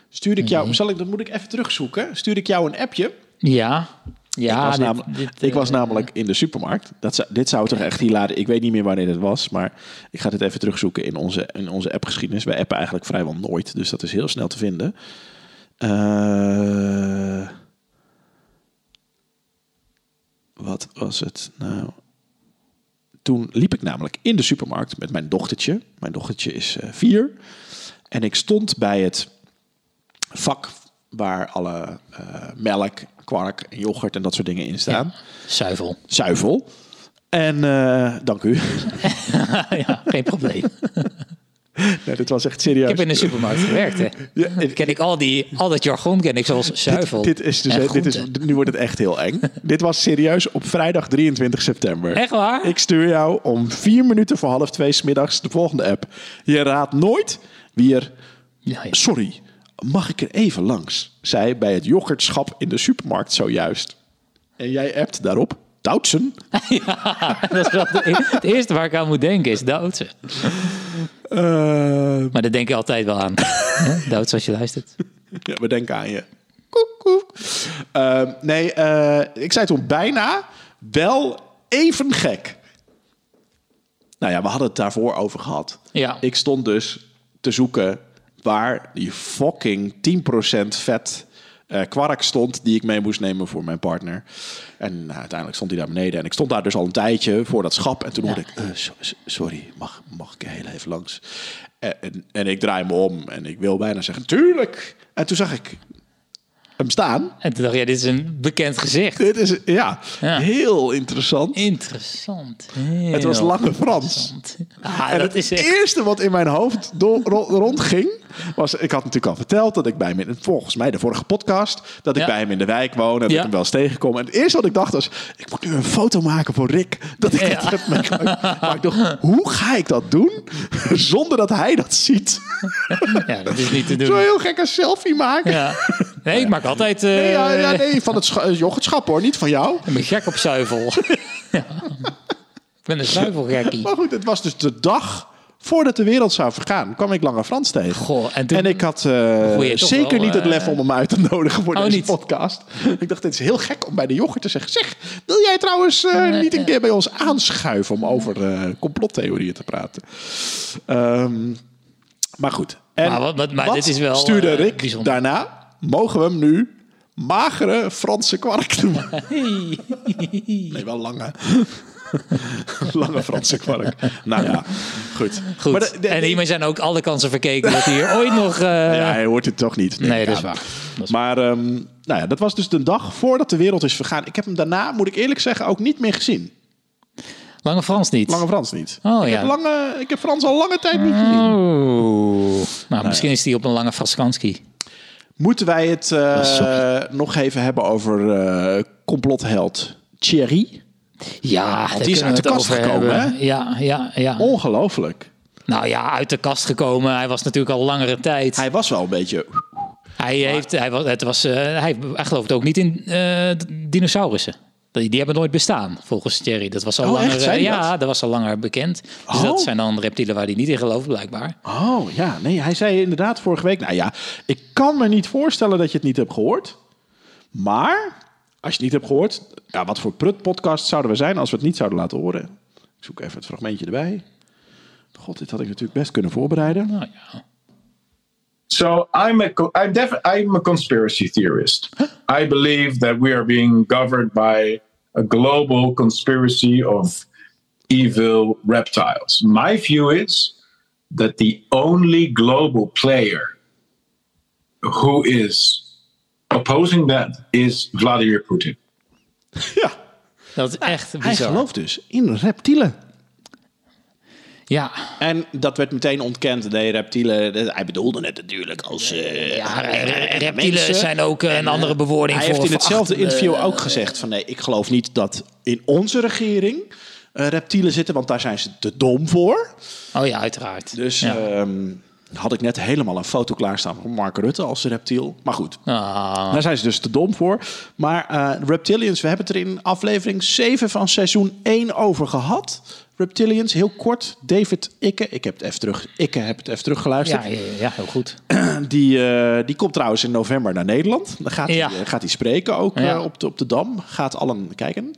[SPEAKER 1] Stuurde ik jou, zal ik, dat moet ik even terugzoeken. Stuurde ik jou een appje.
[SPEAKER 2] Ja. Ja,
[SPEAKER 1] ik was,
[SPEAKER 2] dit-
[SPEAKER 1] namelijk,
[SPEAKER 2] dit,
[SPEAKER 1] ik was
[SPEAKER 2] eh,
[SPEAKER 1] namelijk in de supermarkt. Dat zou, dit zou toch echt hilarisch... Ik weet niet meer wanneer het was, maar ik ga dit even terugzoeken in onze, in onze appgeschiedenis. Wij appen eigenlijk vrijwel nooit, dus dat is heel snel te vinden. Eh, wat was het nou? Toen liep ik namelijk in de supermarkt met mijn dochtertje. Mijn dochtertje is eh, vier. En ik stond bij het vak waar alle eh, melk, kwark, en yoghurt en dat soort dingen in staan.
[SPEAKER 2] Zuivel.
[SPEAKER 1] Zuivel. En eh, dank u.
[SPEAKER 2] ja, geen probleem.
[SPEAKER 1] nee, dit was echt
[SPEAKER 2] Ik
[SPEAKER 1] serieus.
[SPEAKER 2] heb in de supermarkt gewerkt, hè.
[SPEAKER 1] Ja, en-
[SPEAKER 2] Ken ik al, die, al dat jargon, ken ik zoals zuivel
[SPEAKER 1] dit is
[SPEAKER 2] en
[SPEAKER 1] dus, dit is,
[SPEAKER 2] groente.
[SPEAKER 1] nu wordt het echt heel eng. dit was serieus op vrijdag 23 september.
[SPEAKER 2] Echt waar?
[SPEAKER 1] Ik stuur jou om vier minuten voor half twee 's middags de volgende app. Je raadt nooit wie er.
[SPEAKER 2] Ja, ja.
[SPEAKER 1] Sorry, mag ik er even langs? Zei bij het yoghurtschap in de supermarkt zojuist. En jij appt daarop. Doutsen.
[SPEAKER 2] Dat is wel de- het eerste waar ik aan moet denken is Doutse.
[SPEAKER 1] Eh,
[SPEAKER 2] Maar daar denk ik altijd wel aan. Hè? Doutse als je luistert.
[SPEAKER 1] Ja, we denken aan je. Koek, koek. Ehm, nee, eh, ik zei toen bijna wel even gek. Nou ja, we hadden het daarvoor over gehad.
[SPEAKER 2] Ja.
[SPEAKER 1] Ik stond dus te zoeken waar die fucking 10% vet eh, kwark stond... die ik mee moest nemen voor mijn partner. En nou, uiteindelijk stond hij daar beneden. En ik stond daar dus al een tijdje voor dat schap. En toen hoorde ik, eh, so- so- sorry, mag, mag ik er heel even langs? En, en, en ik draai me om en ik wil bijna zeggen, tuurlijk. En toen zag ik hem staan.
[SPEAKER 2] En toen dacht je, dit is een bekend gezicht.
[SPEAKER 1] Dit is, ja,
[SPEAKER 2] Ja.
[SPEAKER 1] heel interessant.
[SPEAKER 2] Interessant.
[SPEAKER 1] Het was Lange Frans.
[SPEAKER 2] Ah,
[SPEAKER 1] En
[SPEAKER 2] dat
[SPEAKER 1] het
[SPEAKER 2] is echt...
[SPEAKER 1] eerste wat in mijn hoofd do- ro- rondging was... Ik had natuurlijk al verteld dat ik bij hem... in- Volgens mij de vorige podcast. Dat ik
[SPEAKER 2] Ja.
[SPEAKER 1] bij hem in de wijk woon. En dat
[SPEAKER 2] Ja.
[SPEAKER 1] ik hem wel eens tegenkom. En het eerste wat ik dacht was... Ik moet nu een foto maken voor Rick. Dat ik dat heb meegemaakt. Maar ik dacht, hoe ga ik dat doen? Zonder dat hij dat ziet.
[SPEAKER 2] Ja, dat is niet te
[SPEAKER 1] Zo'n
[SPEAKER 2] doen.
[SPEAKER 1] heel gekke selfie maken.
[SPEAKER 2] Ja. Nee, ik maak altijd... eh
[SPEAKER 1] Nee, ja, ja, nee, van het scha- eh, yoghurtschap hoor. Niet van jou.
[SPEAKER 2] Ik ben gek op zuivel. Ja. Ik ben een zuivelgekkie.
[SPEAKER 1] Maar goed, het was dus de dag... Voordat de wereld zou vergaan, kwam ik Lange Frans tegen.
[SPEAKER 2] Goh, en toen-
[SPEAKER 1] en ik had eh,
[SPEAKER 2] je toch
[SPEAKER 1] zeker
[SPEAKER 2] wel,
[SPEAKER 1] niet het
[SPEAKER 2] eh,
[SPEAKER 1] lef om hem uit te nodigen voor
[SPEAKER 2] Oh,
[SPEAKER 1] deze
[SPEAKER 2] niet.
[SPEAKER 1] podcast. Ik dacht, dit is heel gek om bij de yoghurt te zeggen... Zeg, wil jij trouwens eh, niet een keer bij ons aanschuiven... om over eh, complottheorieën te praten? Ehm, maar goed. En
[SPEAKER 2] Maar wat- wat- maar dit is wel,
[SPEAKER 1] stuurde
[SPEAKER 2] eh,
[SPEAKER 1] Rick
[SPEAKER 2] bijzonder.
[SPEAKER 1] daarna? Mogen we hem nu magere Franse kwark noemen? Nee, wel lange. lange Franse kwark. Nou ja, goed.
[SPEAKER 2] Goed.
[SPEAKER 1] Maar de- de-
[SPEAKER 2] en hiermee zijn ook alle kansen verkeken dat hier ooit nog... eh,
[SPEAKER 1] Ja, hij hoort het toch niet. denk
[SPEAKER 2] Nee,
[SPEAKER 1] ik
[SPEAKER 2] dat is
[SPEAKER 1] aan.
[SPEAKER 2] waar. Dat is
[SPEAKER 1] Maar ehm, nou ja, dat was dus de dag voordat de wereld is vergaan. Ik heb hem daarna, moet ik eerlijk zeggen, ook niet meer gezien.
[SPEAKER 2] Lange Frans niet.
[SPEAKER 1] Lange Frans niet.
[SPEAKER 2] Oh,
[SPEAKER 1] ik,
[SPEAKER 2] ja.
[SPEAKER 1] heb lange, ik heb Frans al lange tijd niet gezien.
[SPEAKER 2] Oh. Nou, misschien is die op een lange Fraskanski.
[SPEAKER 1] Moeten wij het eh,
[SPEAKER 2] sorry.
[SPEAKER 1] nog even hebben over eh complotheld Thierry? Oh,
[SPEAKER 2] Ja, daar
[SPEAKER 1] die is
[SPEAKER 2] kunnen
[SPEAKER 1] uit
[SPEAKER 2] we
[SPEAKER 1] de
[SPEAKER 2] het
[SPEAKER 1] kast
[SPEAKER 2] over
[SPEAKER 1] gekomen, Oh.
[SPEAKER 2] hebben. Ja, ja, ja.
[SPEAKER 1] Ongelooflijk.
[SPEAKER 2] Nou ja, uit de kast gekomen. Hij was natuurlijk al langere tijd. Hij,
[SPEAKER 1] Hij was wel een beetje...
[SPEAKER 2] heeft, hij, was, het was, eh, hij, hij gelooft ook niet in eh, dinosaurussen. Die, die hebben nooit bestaan, volgens Thierry. Dat was al
[SPEAKER 1] Oh, echt?
[SPEAKER 2] langer, eh,
[SPEAKER 1] Zei hij
[SPEAKER 2] ja,
[SPEAKER 1] dat?
[SPEAKER 2] dat was al langer bekend. Dus
[SPEAKER 1] Oh.
[SPEAKER 2] dat zijn dan reptielen waar hij niet in gelooft, blijkbaar.
[SPEAKER 1] Oh ja, nee, hij zei inderdaad vorige week... Nou ja, ik kan me niet voorstellen dat je het niet hebt gehoord. Maar als je het niet hebt gehoord... Ja, wat voor prut-podcast zouden we zijn als we het niet zouden laten horen? Ik zoek even het fragmentje erbij. God, dit had ik natuurlijk best kunnen voorbereiden.
[SPEAKER 2] Nou ja.
[SPEAKER 4] So I'm a co- I'm def- I'm a conspiracy theorist. I believe that we are being governed by a global conspiracy of evil reptiles. My view is that the only global player who is opposing that is Vladimir Putin.
[SPEAKER 1] Ja,
[SPEAKER 2] Dat is echt bizar.
[SPEAKER 1] Ah, hij gelooft dus in reptielen.
[SPEAKER 2] Ja,
[SPEAKER 1] En dat werd meteen ontkend. Nee, reptielen. dat- Hij bedoelde het natuurlijk als. eh,
[SPEAKER 2] ja
[SPEAKER 1] rare
[SPEAKER 2] Ah, reptielen
[SPEAKER 1] mensen.
[SPEAKER 2] zijn ook eh, een andere bewoording
[SPEAKER 1] Hij
[SPEAKER 2] voor
[SPEAKER 1] heeft in hetzelfde
[SPEAKER 2] verachtende-
[SPEAKER 1] interview ook gezegd: van nee, ik geloof niet dat in onze regering eh, reptielen zitten, want daar zijn ze te dom voor.
[SPEAKER 2] Oh ja, uiteraard.
[SPEAKER 1] Dus
[SPEAKER 2] Ja.
[SPEAKER 1] ehm, had ik net helemaal een foto klaarstaan van Mark Rutte als reptiel. Maar goed,
[SPEAKER 2] Ah.
[SPEAKER 1] daar zijn ze dus te dom voor. Maar eh, Reptilians, we hebben het er in aflevering 7 van seizoen 1 over gehad. Reptilians, heel kort. David Ikke, ik heb het even terug, Ikke heb het even teruggeluisterd.
[SPEAKER 2] Ja, ja, ja, heel goed.
[SPEAKER 1] Die, eh, die komt trouwens in november naar Nederland. Dan gaat hij
[SPEAKER 2] Ja.
[SPEAKER 1] eh, gaat hij spreken ook eh,
[SPEAKER 2] Ja.
[SPEAKER 1] op, de, op de Dam. Gaat allen kijken.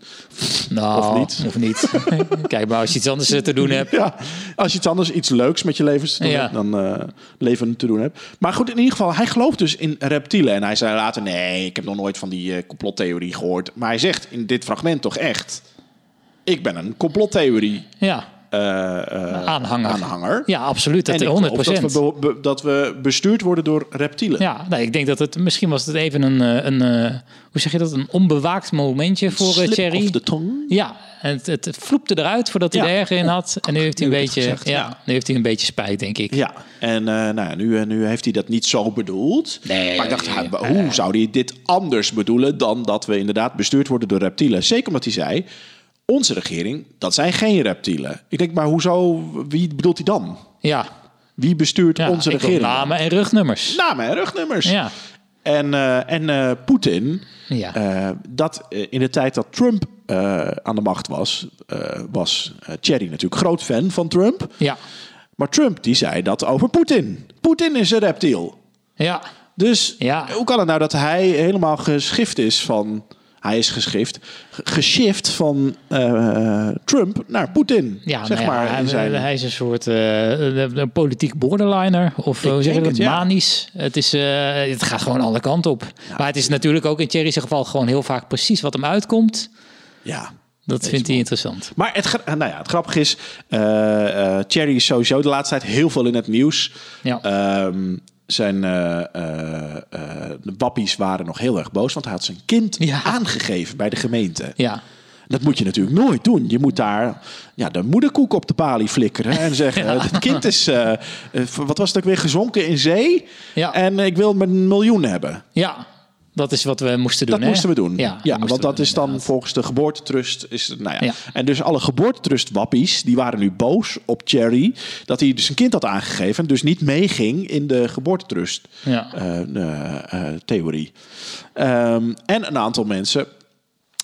[SPEAKER 2] Nou,
[SPEAKER 1] Of niet.
[SPEAKER 2] Of niet. Kijk, maar als je iets anders eh, te doen hebt.
[SPEAKER 1] Ja, als je iets anders, iets leuks met je levens te doen
[SPEAKER 2] Ja.
[SPEAKER 1] hebt, dan eh, leven te doen hebt. Maar goed, in ieder geval, hij gelooft dus in reptielen. En hij zei later, nee, ik heb nog nooit van die eh, complottheorie gehoord. Maar hij zegt in dit fragment toch echt, ik ben een complottheorie
[SPEAKER 2] Ja,
[SPEAKER 1] eh, eh,
[SPEAKER 2] aanhanger.
[SPEAKER 1] aanhanger.
[SPEAKER 2] Ja, absoluut. Dat
[SPEAKER 1] en ik geloof
[SPEAKER 2] 100
[SPEAKER 1] dat
[SPEAKER 2] procent.
[SPEAKER 1] we, be- be- dat we bestuurd worden door reptielen.
[SPEAKER 2] Ja, nou, ik denk dat het misschien was het even een, eh, een eh, hoe zeg je dat, een onbewaakt momentje voor eh,
[SPEAKER 1] Slip
[SPEAKER 2] Thierry.
[SPEAKER 1] of the tongue.
[SPEAKER 2] Ja, en het, het vloepte eruit voordat hij
[SPEAKER 1] Ja.
[SPEAKER 2] er erger in had. En nu heeft hij
[SPEAKER 1] Nu
[SPEAKER 2] een
[SPEAKER 1] heb ik het
[SPEAKER 2] beetje,
[SPEAKER 1] gezegd,
[SPEAKER 2] ja,
[SPEAKER 1] ja.
[SPEAKER 2] nu heeft hij een beetje spijt, denk ik.
[SPEAKER 1] Ja, en eh, nou ja, nu, eh, nu heeft hij dat niet zo bedoeld.
[SPEAKER 2] Nee,
[SPEAKER 1] maar ik dacht, hij- hoe zou hij dit anders bedoelen dan dat we inderdaad bestuurd worden door reptielen? Zeker omdat hij zei, onze regering, dat zijn geen reptielen. Ik denk, maar hoezo, wie bedoelt hij dan?
[SPEAKER 2] Ja,
[SPEAKER 1] Wie bestuurt
[SPEAKER 2] ja
[SPEAKER 1] onze
[SPEAKER 2] ik wil
[SPEAKER 1] regering?
[SPEAKER 2] Namen en rugnummers.
[SPEAKER 1] Namen en rugnummers.
[SPEAKER 2] Ja.
[SPEAKER 1] En, eh, en eh, Poetin,
[SPEAKER 2] Ja.
[SPEAKER 1] eh, dat eh, in de tijd dat Trump eh, aan de macht was, eh, was eh, Thierry natuurlijk groot fan van Trump.
[SPEAKER 2] Ja,
[SPEAKER 1] Maar Trump die zei dat over Poetin. Poetin is een reptiel.
[SPEAKER 2] ja,
[SPEAKER 1] Dus
[SPEAKER 2] Ja.
[SPEAKER 1] hoe kan het nou dat hij helemaal geschift is van... Hij is geschift. ge- Geshift van eh, Trump naar Poetin.
[SPEAKER 2] ja,
[SPEAKER 1] zeg
[SPEAKER 2] nou ja,
[SPEAKER 1] maar. in
[SPEAKER 2] hij,
[SPEAKER 1] zijn-
[SPEAKER 2] hij is een soort eh, een politiek borderliner. Of eh, hoe zeg je
[SPEAKER 1] denk het,
[SPEAKER 2] dat?
[SPEAKER 1] ja.
[SPEAKER 2] Manisch. Het, is, eh, het gaat gewoon alle kanten op. Maar het is natuurlijk ook in Thierry's geval gewoon heel vaak precies wat hem uitkomt.
[SPEAKER 1] ja.
[SPEAKER 2] Dat vindt hij interessant.
[SPEAKER 1] Maar het, gra- nou ja, het grappige is... eh eh Thierry is sowieso de laatste tijd heel veel in het nieuws.
[SPEAKER 2] Ja.
[SPEAKER 1] Ehm, zijn eh, eh, eh, de wappies waren nog heel erg boos... want hij had zijn kind
[SPEAKER 2] Ja.
[SPEAKER 1] aangegeven bij de gemeente.
[SPEAKER 2] Ja.
[SPEAKER 1] Dat moet je natuurlijk nooit doen. Je moet daar ja, de moederkoek op de palie flikkeren en zeggen: Het kind is, eh, eh, wat was het ook weer, gezonken in zee.
[SPEAKER 2] Ja.
[SPEAKER 1] En ik wil mijn miljoen hebben.
[SPEAKER 2] ja, dat is wat we moesten doen.
[SPEAKER 1] Dat moesten we doen.
[SPEAKER 2] Ja,
[SPEAKER 1] Ja,
[SPEAKER 2] moesten
[SPEAKER 1] want
[SPEAKER 2] we
[SPEAKER 1] dat
[SPEAKER 2] doen,
[SPEAKER 1] is dan
[SPEAKER 2] inderdaad.
[SPEAKER 1] volgens de geboortetrust. Is, het- nou ja.
[SPEAKER 2] Ja.
[SPEAKER 1] En dus alle geboortetrustwappies, die waren nu boos op Cherry. Dat hij dus een kind had aangegeven. Dus niet meeging in de geboortetrust
[SPEAKER 2] Ja.
[SPEAKER 1] eh, eh, eh, theorie. Ehm, en een aantal mensen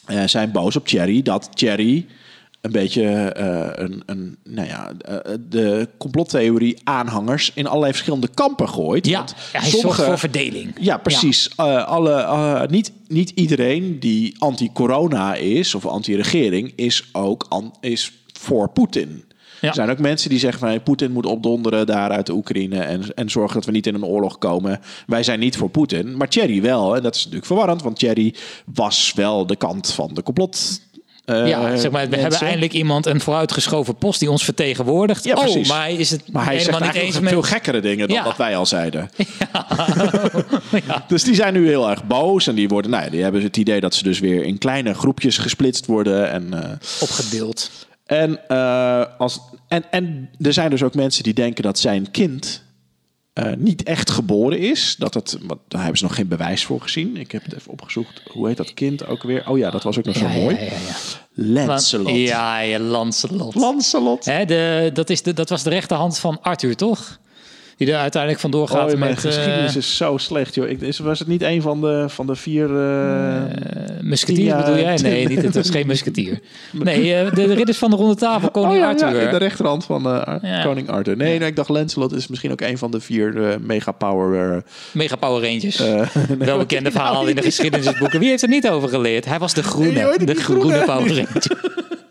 [SPEAKER 1] eh, zijn boos op Cherry. Dat Cherry een beetje eh, een, een, nou ja, eh, de complottheorie aanhangers in allerlei verschillende kampen gooit.
[SPEAKER 2] Ja,
[SPEAKER 1] Want
[SPEAKER 2] hij zorgt
[SPEAKER 1] sommige-
[SPEAKER 2] voor verdeling.
[SPEAKER 1] ja, precies. Eh, alle, eh, niet, niet iedereen die anti-corona is of anti-regering is ook an- is voor Poetin.
[SPEAKER 2] Ja.
[SPEAKER 1] Er zijn ook mensen die zeggen van hey, Poetin moet opdonderen daar uit de Oekraïne en, en zorgen dat we niet in een oorlog komen. Wij zijn niet voor Poetin, maar Thierry wel. En dat is natuurlijk verwarrend, want Thierry was wel de kant van de complot. eh,
[SPEAKER 2] Ja, zeg maar, we
[SPEAKER 1] mensen.
[SPEAKER 2] hebben eindelijk iemand een vooruitgeschoven post die ons vertegenwoordigt.
[SPEAKER 1] Ja,
[SPEAKER 2] oh,
[SPEAKER 1] precies.
[SPEAKER 2] maar hij is het
[SPEAKER 1] Maar hij zegt
[SPEAKER 2] helemaal niet
[SPEAKER 1] eigenlijk
[SPEAKER 2] eens
[SPEAKER 1] nog
[SPEAKER 2] met...
[SPEAKER 1] veel gekkere dingen dan
[SPEAKER 2] Ja.
[SPEAKER 1] wat wij al zeiden. Dus die zijn nu heel erg boos. En die, worden, nou ja, die hebben het idee dat ze dus weer in kleine groepjes gesplitst worden. En, eh,
[SPEAKER 2] opgedeeld.
[SPEAKER 1] en, eh, als, en, en er zijn dus ook mensen die denken dat zijn kind eh, niet echt geboren is. Dat het, want daar hebben ze nog geen bewijs voor gezien. Ik heb het even opgezocht. Hoe heet dat kind ook weer? Oh ja, dat was ook nog zo
[SPEAKER 2] Ja, ja,
[SPEAKER 1] mooi.
[SPEAKER 2] ja, ja.
[SPEAKER 1] Lancelot.
[SPEAKER 2] Ja, ja, Lancelot.
[SPEAKER 1] Lancelot.
[SPEAKER 2] Hè, de, dat, is de, dat was de rechterhand van Arthur, toch? Die er uiteindelijk vandoor gaat
[SPEAKER 1] Oh, mijn
[SPEAKER 2] met... eh,
[SPEAKER 1] geschiedenis is zo slecht, joh. Ik, is, was het niet een van de, van de vier... eh,
[SPEAKER 2] Eh, musketier
[SPEAKER 1] Ja,
[SPEAKER 2] bedoel jij? Nee,
[SPEAKER 1] Tim.
[SPEAKER 2] niet, het was geen musketier. Nee, eh, de ridders van de ronde tafel, koning
[SPEAKER 1] oh, ja, ja,
[SPEAKER 2] Arthur.
[SPEAKER 1] de rechterhand van eh, Ar-
[SPEAKER 2] Ja.
[SPEAKER 1] koning Arthur. Nee, nee, ik dacht Lancelot is misschien ook een van de vier eh, mega power... eh,
[SPEAKER 2] Mega Power Rangers.
[SPEAKER 1] Eh,
[SPEAKER 2] Wel bekende verhalen in de geschiedenisboeken. Wie heeft er niet over geleerd? Hij was de groene,
[SPEAKER 1] Nee, hoe heet
[SPEAKER 2] de
[SPEAKER 1] die
[SPEAKER 2] groene,
[SPEAKER 1] groene?
[SPEAKER 2] Power Ranger.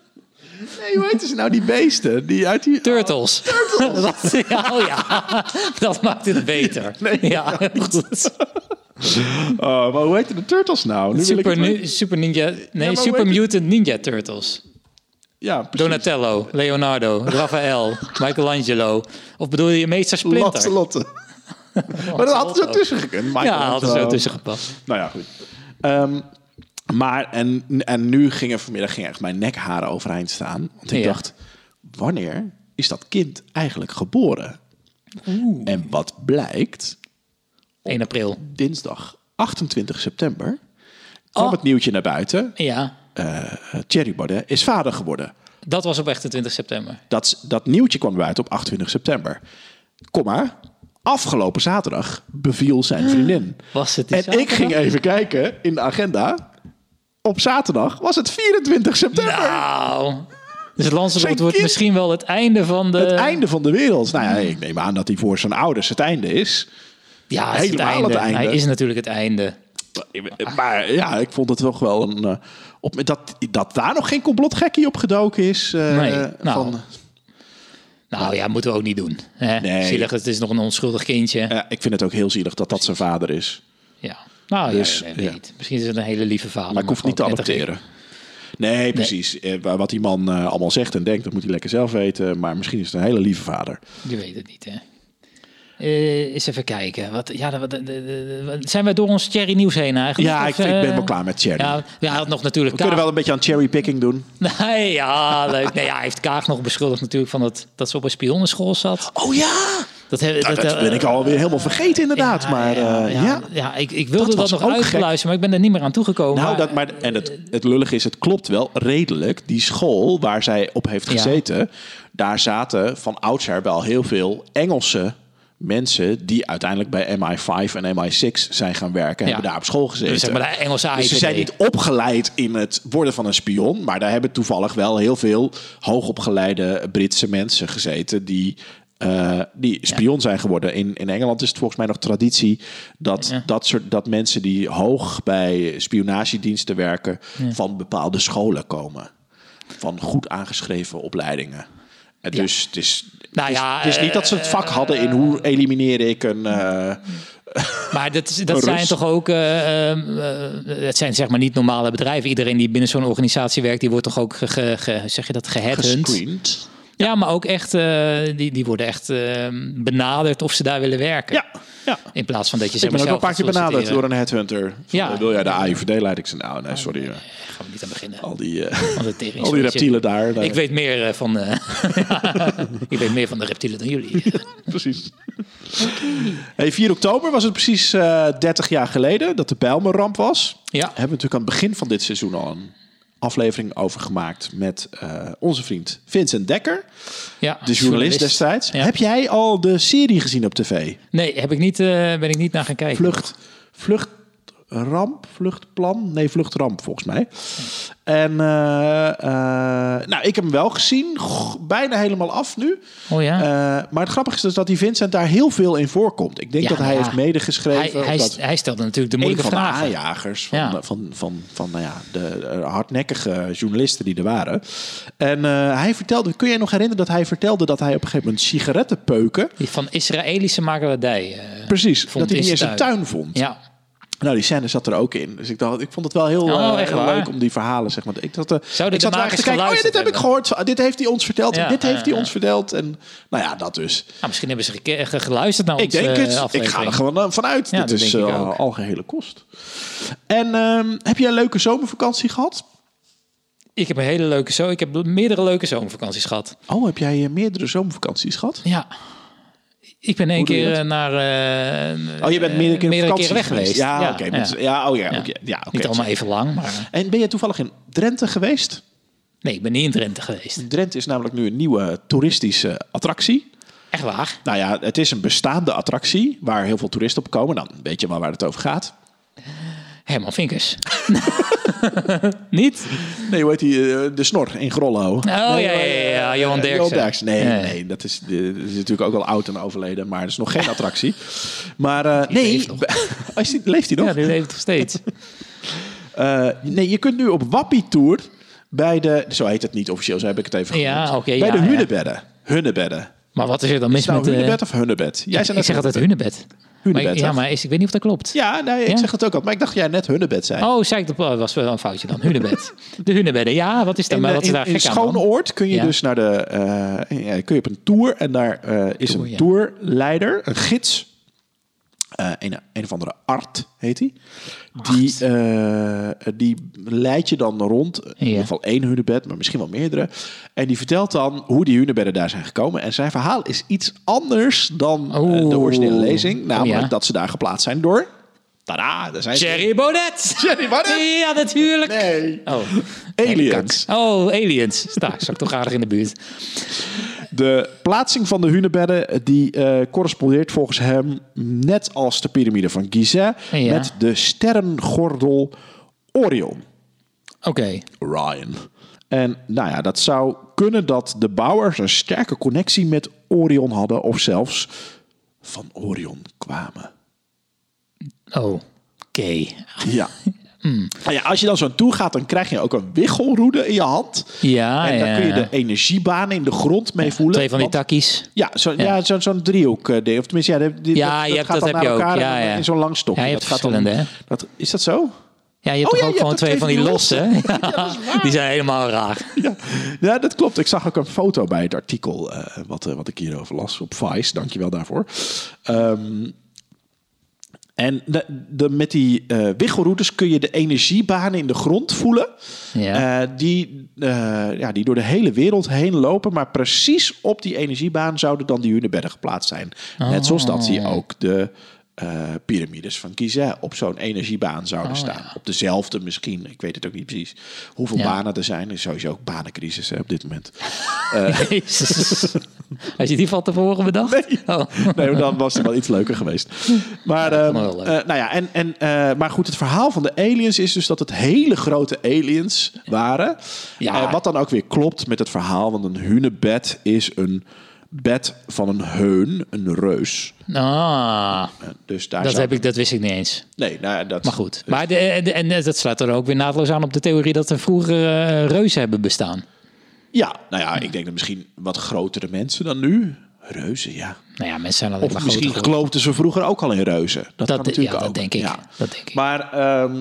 [SPEAKER 1] nee, hoe heet ze nou? Die beesten. Die uit die...
[SPEAKER 2] Turtles. Dat, ja, oh ja, dat maakt het beter. ja, goed.
[SPEAKER 1] Oh, maar hoe heette de turtles nou? Nu wil ik
[SPEAKER 2] Super,
[SPEAKER 1] het maar-
[SPEAKER 2] nu- super Ninja, nee,
[SPEAKER 1] maar hoe
[SPEAKER 2] Super
[SPEAKER 1] heet het?
[SPEAKER 2] Mutant Ninja Turtles.
[SPEAKER 1] Ja, precies.
[SPEAKER 2] Donatello, Leonardo, Raphaël, Michelangelo. Of bedoel je meester Splinter?
[SPEAKER 1] Lancelotte. maar dat had er zo tussen gekund.
[SPEAKER 2] Ja, had er zo
[SPEAKER 1] Michelangelo.
[SPEAKER 2] tussen gepast.
[SPEAKER 1] Nou ja, goed. Ehm, maar, en, en nu gingen vanmiddag ging echt mijn nekharen overeind staan. Want ik
[SPEAKER 2] Ja.
[SPEAKER 1] dacht, wanneer is dat kind eigenlijk geboren? En wat blijkt,
[SPEAKER 2] 1 april.
[SPEAKER 1] dinsdag 28 september kwam
[SPEAKER 2] Oh.
[SPEAKER 1] het nieuwtje naar buiten.
[SPEAKER 2] Ja,
[SPEAKER 1] Eh, Thierry Baudet is vader geworden.
[SPEAKER 2] dat was op 28 september.
[SPEAKER 1] Dat, dat nieuwtje kwam buiten op 28 september. Komma, afgelopen zaterdag beviel zijn vriendin.
[SPEAKER 2] Was het die
[SPEAKER 1] En ik
[SPEAKER 2] zaterdag?
[SPEAKER 1] ging even kijken in de agenda. Op zaterdag was het 24 september.
[SPEAKER 2] Nou. Dus Lancelot
[SPEAKER 1] Zijn
[SPEAKER 2] wordt
[SPEAKER 1] kind-
[SPEAKER 2] misschien wel het einde van de...
[SPEAKER 1] het einde van de wereld. Nou ja, ik neem aan dat hij voor zijn ouders het einde is.
[SPEAKER 2] Ja, het is het
[SPEAKER 1] Helemaal
[SPEAKER 2] einde.
[SPEAKER 1] het einde.
[SPEAKER 2] Hij is natuurlijk het einde.
[SPEAKER 1] Maar ja, ik vond het toch wel een... eh, op, dat, dat daar nog geen complotgekkie op gedoken is. eh,
[SPEAKER 2] Nee, nou.
[SPEAKER 1] van,
[SPEAKER 2] Nou ja, moeten we ook niet doen. Hè?
[SPEAKER 1] Nee.
[SPEAKER 2] Zielig, het is nog een onschuldig kindje.
[SPEAKER 1] eh, ik vind het ook heel zielig dat dat zijn vader is.
[SPEAKER 2] Ja. Nou
[SPEAKER 1] Dus,
[SPEAKER 2] ja, nee, weet
[SPEAKER 1] ja.
[SPEAKER 2] niet. Misschien is het een hele lieve vader.
[SPEAKER 1] Maar ik hoef
[SPEAKER 2] gewoon
[SPEAKER 1] niet te
[SPEAKER 2] prettig.
[SPEAKER 1] adopteren. Nee, precies. Eh, wa- Wat die man eh, allemaal zegt en denkt, dat moet hij lekker zelf weten. Maar misschien is het een hele lieve vader.
[SPEAKER 2] Je weet het niet, hè. Eh, eens even kijken. Wat, ja, dat- wat- de- de- de- wat- zijn we door ons Thierry nieuws heen eigenlijk?
[SPEAKER 1] Ja,
[SPEAKER 2] Of,
[SPEAKER 1] ik, ik
[SPEAKER 2] eh,
[SPEAKER 1] ben wel klaar met Thierry.
[SPEAKER 2] Ja, ja, hij had nog natuurlijk
[SPEAKER 1] We kunnen
[SPEAKER 2] Kaag.
[SPEAKER 1] wel een beetje aan cherrypicking doen.
[SPEAKER 2] Nee, ja, leuk. Nee, ja, hij heeft Kaag nog beschuldigd natuurlijk van dat, dat ze op een spionnenschool zat.
[SPEAKER 1] Oh ja!
[SPEAKER 2] Dat, he-
[SPEAKER 1] Nou, dat
[SPEAKER 2] eh,
[SPEAKER 1] ben ik alweer helemaal vergeten inderdaad. maar eh, ja,
[SPEAKER 2] ja, ja, ik, ik wilde
[SPEAKER 1] Dat
[SPEAKER 2] dat,
[SPEAKER 1] was
[SPEAKER 2] nog
[SPEAKER 1] ook gek.
[SPEAKER 2] uitluisteren, maar ik ben er niet meer aan toegekomen.
[SPEAKER 1] Nou,
[SPEAKER 2] Maar-
[SPEAKER 1] dat, maar, en het, het lullige is, het klopt wel redelijk. Die school waar zij op heeft
[SPEAKER 2] Ja.
[SPEAKER 1] gezeten, daar zaten van oudsher wel heel veel Engelse mensen die uiteindelijk bij MI5 en MI6 zijn gaan werken, en
[SPEAKER 2] Ja.
[SPEAKER 1] hebben daar op school gezeten.
[SPEAKER 2] Dus zeg maar de Engelse
[SPEAKER 1] Dus ze
[SPEAKER 2] AIVD.
[SPEAKER 1] zijn niet opgeleid in het worden van een spion, maar daar hebben toevallig wel heel veel hoogopgeleide Britse mensen gezeten die, eh, die spion zijn geworden. In, in Engeland is het volgens mij nog traditie dat, dat, soort, dat mensen die hoog bij spionagediensten werken, van bepaalde scholen komen. Van goed aangeschreven opleidingen. En dus het is,
[SPEAKER 2] Nou
[SPEAKER 1] het is,
[SPEAKER 2] ja,
[SPEAKER 1] het is niet dat ze het vak hadden in hoe elimineer ik een... eh,
[SPEAKER 2] Maar dat, is- dat
[SPEAKER 1] Rus.
[SPEAKER 2] zijn toch ook, eh, ehm, eh, het zijn zeg maar niet normale bedrijven. Iedereen die binnen zo'n organisatie werkt, die wordt toch ook, ge, ge- ge- zeg je dat, geheadhunt.
[SPEAKER 1] gescreend.
[SPEAKER 2] Ja, maar ook echt, eh, die, die worden echt eh, benaderd of ze daar willen werken.
[SPEAKER 1] Ja, ja.
[SPEAKER 2] In plaats van dat je
[SPEAKER 1] Ik
[SPEAKER 2] zeg
[SPEAKER 1] ben
[SPEAKER 2] maar
[SPEAKER 1] ook een
[SPEAKER 2] zelf
[SPEAKER 1] paar keer
[SPEAKER 2] gaat
[SPEAKER 1] benaderd door
[SPEAKER 2] solliciteren.
[SPEAKER 1] een headhunter. Van,
[SPEAKER 2] Ja.
[SPEAKER 1] eh, Wil jij de AIVD leid? Ik zei, nou nee, sorry. eh,
[SPEAKER 2] Daar gaan we niet aan beginnen.
[SPEAKER 1] Al die, eh,
[SPEAKER 2] Want het tering
[SPEAKER 1] al die
[SPEAKER 2] is-
[SPEAKER 1] reptielen daar. daar.
[SPEAKER 2] Ik weet meer eh, van, eh, ik weet meer van de reptielen dan jullie.
[SPEAKER 1] Precies. Hey, 4 oktober was het precies eh 30 jaar geleden dat de Bijlmerramp was.
[SPEAKER 2] Ja.
[SPEAKER 1] Hebben we natuurlijk aan het begin van dit seizoen al een aflevering over gemaakt met eh, onze vriend Vincent Dekker,
[SPEAKER 2] Ja,
[SPEAKER 1] de journalist, destijds.
[SPEAKER 2] Ja.
[SPEAKER 1] Heb jij al de serie gezien op tv?
[SPEAKER 2] Nee, heb ik niet, eh, ben ik niet naar gaan kijken.
[SPEAKER 1] Vlucht, vluchtramp, vluchtplan? Nee, vluchtramp volgens mij. En eh, eh, nou, ik heb hem wel gezien, Goh, bijna helemaal af nu.
[SPEAKER 2] Oh ja.
[SPEAKER 1] Eh, maar het grappige is dus dat die Vincent daar heel veel in voorkomt. Ik denk
[SPEAKER 2] Ja,
[SPEAKER 1] dat hij
[SPEAKER 2] ja.
[SPEAKER 1] heeft medegeschreven.
[SPEAKER 2] Hij,
[SPEAKER 1] of
[SPEAKER 2] hij,
[SPEAKER 1] dat
[SPEAKER 2] hij stelde natuurlijk de
[SPEAKER 1] een
[SPEAKER 2] moeilijke
[SPEAKER 1] van de
[SPEAKER 2] vragen.
[SPEAKER 1] aanjagers van,
[SPEAKER 2] Ja.
[SPEAKER 1] van, van, van, nou ja, de eh, hardnekkige journalisten die er waren. En eh, hij vertelde, kun jij nog herinneren dat hij vertelde dat hij op een gegeven moment sigaretten peuken?
[SPEAKER 2] Die van Israëlische makelaardij. eh,
[SPEAKER 1] Precies,
[SPEAKER 2] Vond
[SPEAKER 1] dat hij
[SPEAKER 2] in
[SPEAKER 1] niet eens
[SPEAKER 2] zijn
[SPEAKER 1] een
[SPEAKER 2] tuin.
[SPEAKER 1] tuin vond.
[SPEAKER 2] ja.
[SPEAKER 1] Nou, die scène zat er ook in. Dus ik dacht, ik vond het wel heel,
[SPEAKER 2] Oh,
[SPEAKER 1] eh,
[SPEAKER 2] echt
[SPEAKER 1] heel
[SPEAKER 2] waar?
[SPEAKER 1] leuk om die verhalen, zeg maar. Ik zat, eh,
[SPEAKER 2] Zouden
[SPEAKER 1] ik
[SPEAKER 2] de
[SPEAKER 1] zat er
[SPEAKER 2] makers
[SPEAKER 1] eigenlijk te kijken, oh ja, dit heb
[SPEAKER 2] geluisterd
[SPEAKER 1] ik gehoord. Ah, Dit heeft hij ons verteld en
[SPEAKER 2] Ja,
[SPEAKER 1] dit heeft
[SPEAKER 2] ja,
[SPEAKER 1] hij
[SPEAKER 2] ja.
[SPEAKER 1] ons verteld. En nou ja, dat dus.
[SPEAKER 2] Nou, misschien hebben ze geke- ge- geluisterd naar
[SPEAKER 1] Ik
[SPEAKER 2] onze
[SPEAKER 1] denk
[SPEAKER 2] eh,
[SPEAKER 1] het. Ik ga
[SPEAKER 2] aflevering.
[SPEAKER 1] er gewoon eh, vanuit.
[SPEAKER 2] Ja,
[SPEAKER 1] Dit
[SPEAKER 2] dat
[SPEAKER 1] is
[SPEAKER 2] denk ik
[SPEAKER 1] eh,
[SPEAKER 2] ook.
[SPEAKER 1] algehele kost. En ehm, heb jij een leuke zomervakantie gehad?
[SPEAKER 2] Ik heb een hele leuke zo. Ik heb meerdere leuke zomervakanties gehad.
[SPEAKER 1] Oh, heb jij eh, meerdere zomervakanties gehad?
[SPEAKER 2] Ja. Ik ben één
[SPEAKER 1] doe je
[SPEAKER 2] keer
[SPEAKER 1] dat?
[SPEAKER 2] eh, naar... eh,
[SPEAKER 1] Oh, je bent meerdere keer op
[SPEAKER 2] meerdere
[SPEAKER 1] vakantie
[SPEAKER 2] keren weg geweest.
[SPEAKER 1] Ja,
[SPEAKER 2] Ja,
[SPEAKER 1] oké.
[SPEAKER 2] ja.
[SPEAKER 1] met- Ja. oh ja, oké. ja. oké.
[SPEAKER 2] Niet allemaal even lang, maar...
[SPEAKER 1] En ben je toevallig in Drenthe geweest?
[SPEAKER 2] Nee, ik ben niet in Drenthe geweest.
[SPEAKER 1] Drenthe is namelijk nu een nieuwe toeristische attractie.
[SPEAKER 2] Echt waar?
[SPEAKER 1] Nou ja, het is een bestaande attractie waar heel veel toeristen op komen. Dan weet je maar waar het over gaat.
[SPEAKER 2] Herman Vinkers. niet?
[SPEAKER 1] Nee, hoe heet die? eh, De snor in Grollo. Oh
[SPEAKER 2] ja, ja, ja, ja, Johan Derksen.
[SPEAKER 1] eh, Nee,
[SPEAKER 2] Nee.
[SPEAKER 1] nee, dat is, eh, dat is natuurlijk ook al oud en overleden, maar dat is nog geen attractie. Maar eh, nee,
[SPEAKER 2] leeft nog.
[SPEAKER 1] Oh, is die- leeft hij nog?
[SPEAKER 2] Ja, die leeft nog steeds.
[SPEAKER 1] Eh, nee, je kunt nu op Wappie Tour bij de. Zo heet het niet officieel, zo heb ik het even
[SPEAKER 2] Ja,
[SPEAKER 1] genoemd.
[SPEAKER 2] oké,
[SPEAKER 1] bij
[SPEAKER 2] ja,
[SPEAKER 1] de
[SPEAKER 2] ja.
[SPEAKER 1] Hunebedden. Hunebedden. Is
[SPEAKER 2] Maar wat is er dan mis
[SPEAKER 1] het nou
[SPEAKER 2] met... eh,
[SPEAKER 1] Hunebed of Hunnebed? Jij zei
[SPEAKER 2] ik
[SPEAKER 1] net
[SPEAKER 2] zeg altijd Hunebed.
[SPEAKER 1] Hunebed,
[SPEAKER 2] Maar ik- ja,
[SPEAKER 1] hè?
[SPEAKER 2] maar is, ik weet niet of dat klopt.
[SPEAKER 1] Ja, nee, ik
[SPEAKER 2] Ja?
[SPEAKER 1] zeg het ook al. Maar ik dacht dat jij net Hunnebed zei.
[SPEAKER 2] Oh, zei ik dat oh, was wel een foutje dan. Hunebed. De Hunebedden, ja, wat is, daar,
[SPEAKER 1] In,
[SPEAKER 2] maar
[SPEAKER 1] eh,
[SPEAKER 2] wat is
[SPEAKER 1] in-
[SPEAKER 2] daar
[SPEAKER 1] in
[SPEAKER 2] gek aan dan?
[SPEAKER 1] Schoonoord kun je
[SPEAKER 2] Ja.
[SPEAKER 1] dus naar de. eh, ja, kun je op een tour en daar eh, is
[SPEAKER 2] Tour,
[SPEAKER 1] een
[SPEAKER 2] ja.
[SPEAKER 1] tourleider, een gids. Eh, een, een of andere art heet die. Die, eh, die leidt je dan rond. In
[SPEAKER 2] Ja.
[SPEAKER 1] ieder geval één hunebed, maar misschien wel meerdere. En die vertelt dan hoe die hunebedden daar zijn gekomen. En zijn verhaal is iets anders dan eh, de
[SPEAKER 2] Oeh.
[SPEAKER 1] originele lezing.
[SPEAKER 2] Oh,
[SPEAKER 1] Namelijk
[SPEAKER 2] ja.
[SPEAKER 1] dat ze daar geplaatst zijn door. Tada, daar zijn ze.
[SPEAKER 2] Jerry Bonnet!
[SPEAKER 1] Jerry Bonnet?
[SPEAKER 2] Ja, natuurlijk!
[SPEAKER 1] Nee.
[SPEAKER 2] Oh.
[SPEAKER 1] Aliens.
[SPEAKER 2] kak. Oh, aliens. Daar zat ik toch aardig in de buurt.
[SPEAKER 1] De plaatsing van de hunebedden die eh, correspondeert volgens hem net als de piramide van Gizeh
[SPEAKER 2] Oh Ja.
[SPEAKER 1] met de sterrengordel Orion.
[SPEAKER 2] Oké.
[SPEAKER 1] Orion. En nou ja, dat zou kunnen dat de bouwers een sterke connectie met Orion hadden of zelfs van Orion kwamen.
[SPEAKER 2] Oh. Oké.
[SPEAKER 1] Ja.
[SPEAKER 2] Hmm.
[SPEAKER 1] Nou ja, als je dan zo naartoe gaat, dan krijg je ook een wiggelroede in je hand.
[SPEAKER 2] Ja,
[SPEAKER 1] en dan
[SPEAKER 2] ja.
[SPEAKER 1] kun je de energiebanen in de grond mee voelen.
[SPEAKER 2] Twee van die
[SPEAKER 1] Want-
[SPEAKER 2] takkies.
[SPEAKER 1] Ja, zo, ja. zo'n zo'n driehoek. eh, ding. Of tenminste, ja, die- die-
[SPEAKER 2] Ja,
[SPEAKER 1] dat,
[SPEAKER 2] je hebt-
[SPEAKER 1] gaat
[SPEAKER 2] dat
[SPEAKER 1] dan
[SPEAKER 2] heb je
[SPEAKER 1] naar
[SPEAKER 2] ook.
[SPEAKER 1] elkaar
[SPEAKER 2] Ja,
[SPEAKER 1] en dan
[SPEAKER 2] ja.
[SPEAKER 1] in zo'n lang stokje.
[SPEAKER 2] Ja, je
[SPEAKER 1] dat
[SPEAKER 2] hebt
[SPEAKER 1] gaat dan,
[SPEAKER 2] verschillende, hè?
[SPEAKER 1] dat, is dat zo?
[SPEAKER 2] Ja, je hebt
[SPEAKER 1] Oh
[SPEAKER 2] toch
[SPEAKER 1] ja,
[SPEAKER 2] ook
[SPEAKER 1] je
[SPEAKER 2] gewoon
[SPEAKER 1] hebt
[SPEAKER 2] twee
[SPEAKER 1] ook
[SPEAKER 2] van die
[SPEAKER 1] twee
[SPEAKER 2] losse?
[SPEAKER 1] van
[SPEAKER 2] Ja, die zijn helemaal raar.
[SPEAKER 1] Ja. ja, dat klopt. Ik zag ook een foto bij het artikel eh, wat, eh, wat ik hierover las op Vice. Dankjewel daarvoor. Ehm, en de, de- met die eh wiggelroutes kun je de energiebanen in de grond voelen.
[SPEAKER 2] Ja.
[SPEAKER 1] Eh, die, eh, ja, die door de hele wereld heen lopen. Maar precies op die energiebaan zouden dan die hunebedden geplaatst zijn. Net zoals dat
[SPEAKER 2] Oh.
[SPEAKER 1] hier ook de eh, piramides van Gizeh op zo'n energiebaan zouden
[SPEAKER 2] Oh,
[SPEAKER 1] staan. Op dezelfde misschien. Ik weet het ook niet precies. Hoeveel
[SPEAKER 2] Ja.
[SPEAKER 1] banen er zijn. Er is sowieso ook banencrisis hè, op dit moment.
[SPEAKER 2] Jezus. Had je die van tevoren bedacht? Nee. Oh.
[SPEAKER 1] Eh. Nee, maar dan was het wel iets leuker geweest. Maar, ehm,
[SPEAKER 2] kan wel leuk.
[SPEAKER 1] eh, nou ja, en, en, eh, maar goed, het verhaal van de aliens is dus dat het hele grote aliens waren.
[SPEAKER 2] Ja.
[SPEAKER 1] Eh, wat dan ook weer klopt met het verhaal, want een hunebed is een bed van een heun, een reus.
[SPEAKER 2] Ah,
[SPEAKER 1] Eh, dus daar
[SPEAKER 2] dat,
[SPEAKER 1] zou-
[SPEAKER 2] heb ik, dat wist ik niet eens.
[SPEAKER 1] Nee, nou, ja, dat...
[SPEAKER 2] Maar goed. Maar de, en- en en dat sluit er ook weer naadloos aan op de theorie dat er vroeger eh, reuzen hebben bestaan.
[SPEAKER 1] Ja, nou ja, ik denk dat misschien wat grotere mensen dan nu. Reuzen, ja.
[SPEAKER 2] Nou ja, mensen zijn alleen maar
[SPEAKER 1] Of misschien
[SPEAKER 2] groter geworden.
[SPEAKER 1] geloofden ze vroeger ook al in reuzen. Dat, kan
[SPEAKER 2] Dat, eh,
[SPEAKER 1] natuurlijk
[SPEAKER 2] ja, dat
[SPEAKER 1] ook.
[SPEAKER 2] denk ik.
[SPEAKER 1] Ja.
[SPEAKER 2] Dat denk ik.
[SPEAKER 1] Maar ehm,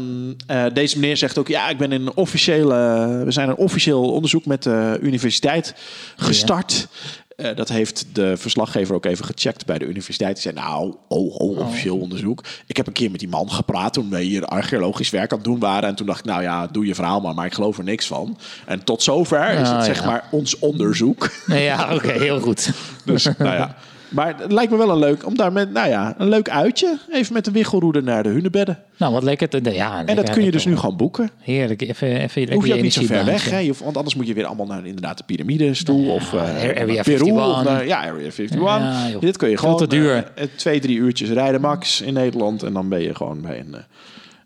[SPEAKER 1] eh, deze meneer zegt ook, ja, ik ben in een officiële, we zijn een officieel onderzoek met de universiteit
[SPEAKER 2] Oh,
[SPEAKER 1] gestart. Eh, dat heeft de verslaggever ook even gecheckt bij de universiteit. Die zei, nou, oh, oh, officieel onderzoek. Ik heb een keer met die man gepraat toen we hier archeologisch werk aan het doen waren. En toen dacht ik, nou ja, doe je verhaal maar, maar ik geloof er niks van. En tot zover is
[SPEAKER 2] Ah,
[SPEAKER 1] het zeg
[SPEAKER 2] ja.
[SPEAKER 1] maar ons onderzoek.
[SPEAKER 2] Ja, oké, heel goed.
[SPEAKER 1] Dus, nou ja. Maar het lijkt me wel een leuk, om daar met, nou ja, een leuk uitje. Even met de wiggelroede naar de hunebedden.
[SPEAKER 2] Nou, wat lekker. te- Ja,
[SPEAKER 1] En dat kun je dus nu
[SPEAKER 2] nog.
[SPEAKER 1] gewoon boeken.
[SPEAKER 2] Heerlijk, even, even lekker
[SPEAKER 1] Hoef je
[SPEAKER 2] je
[SPEAKER 1] ook niet zo ver
[SPEAKER 2] energiebaantje.
[SPEAKER 1] weg, hè? Je hoeft- want anders moet je weer allemaal naar inderdaad de piramides toe. of eh,
[SPEAKER 2] Area
[SPEAKER 1] naar
[SPEAKER 2] 51.
[SPEAKER 1] Of naar, ja, Area 51.
[SPEAKER 2] Ja, joh.
[SPEAKER 1] Dit kun je
[SPEAKER 2] Veel
[SPEAKER 1] gewoon
[SPEAKER 2] te duur.
[SPEAKER 1] eh, twee, drie uurtjes rijden max in Nederland. En dan ben je gewoon bij een, eh,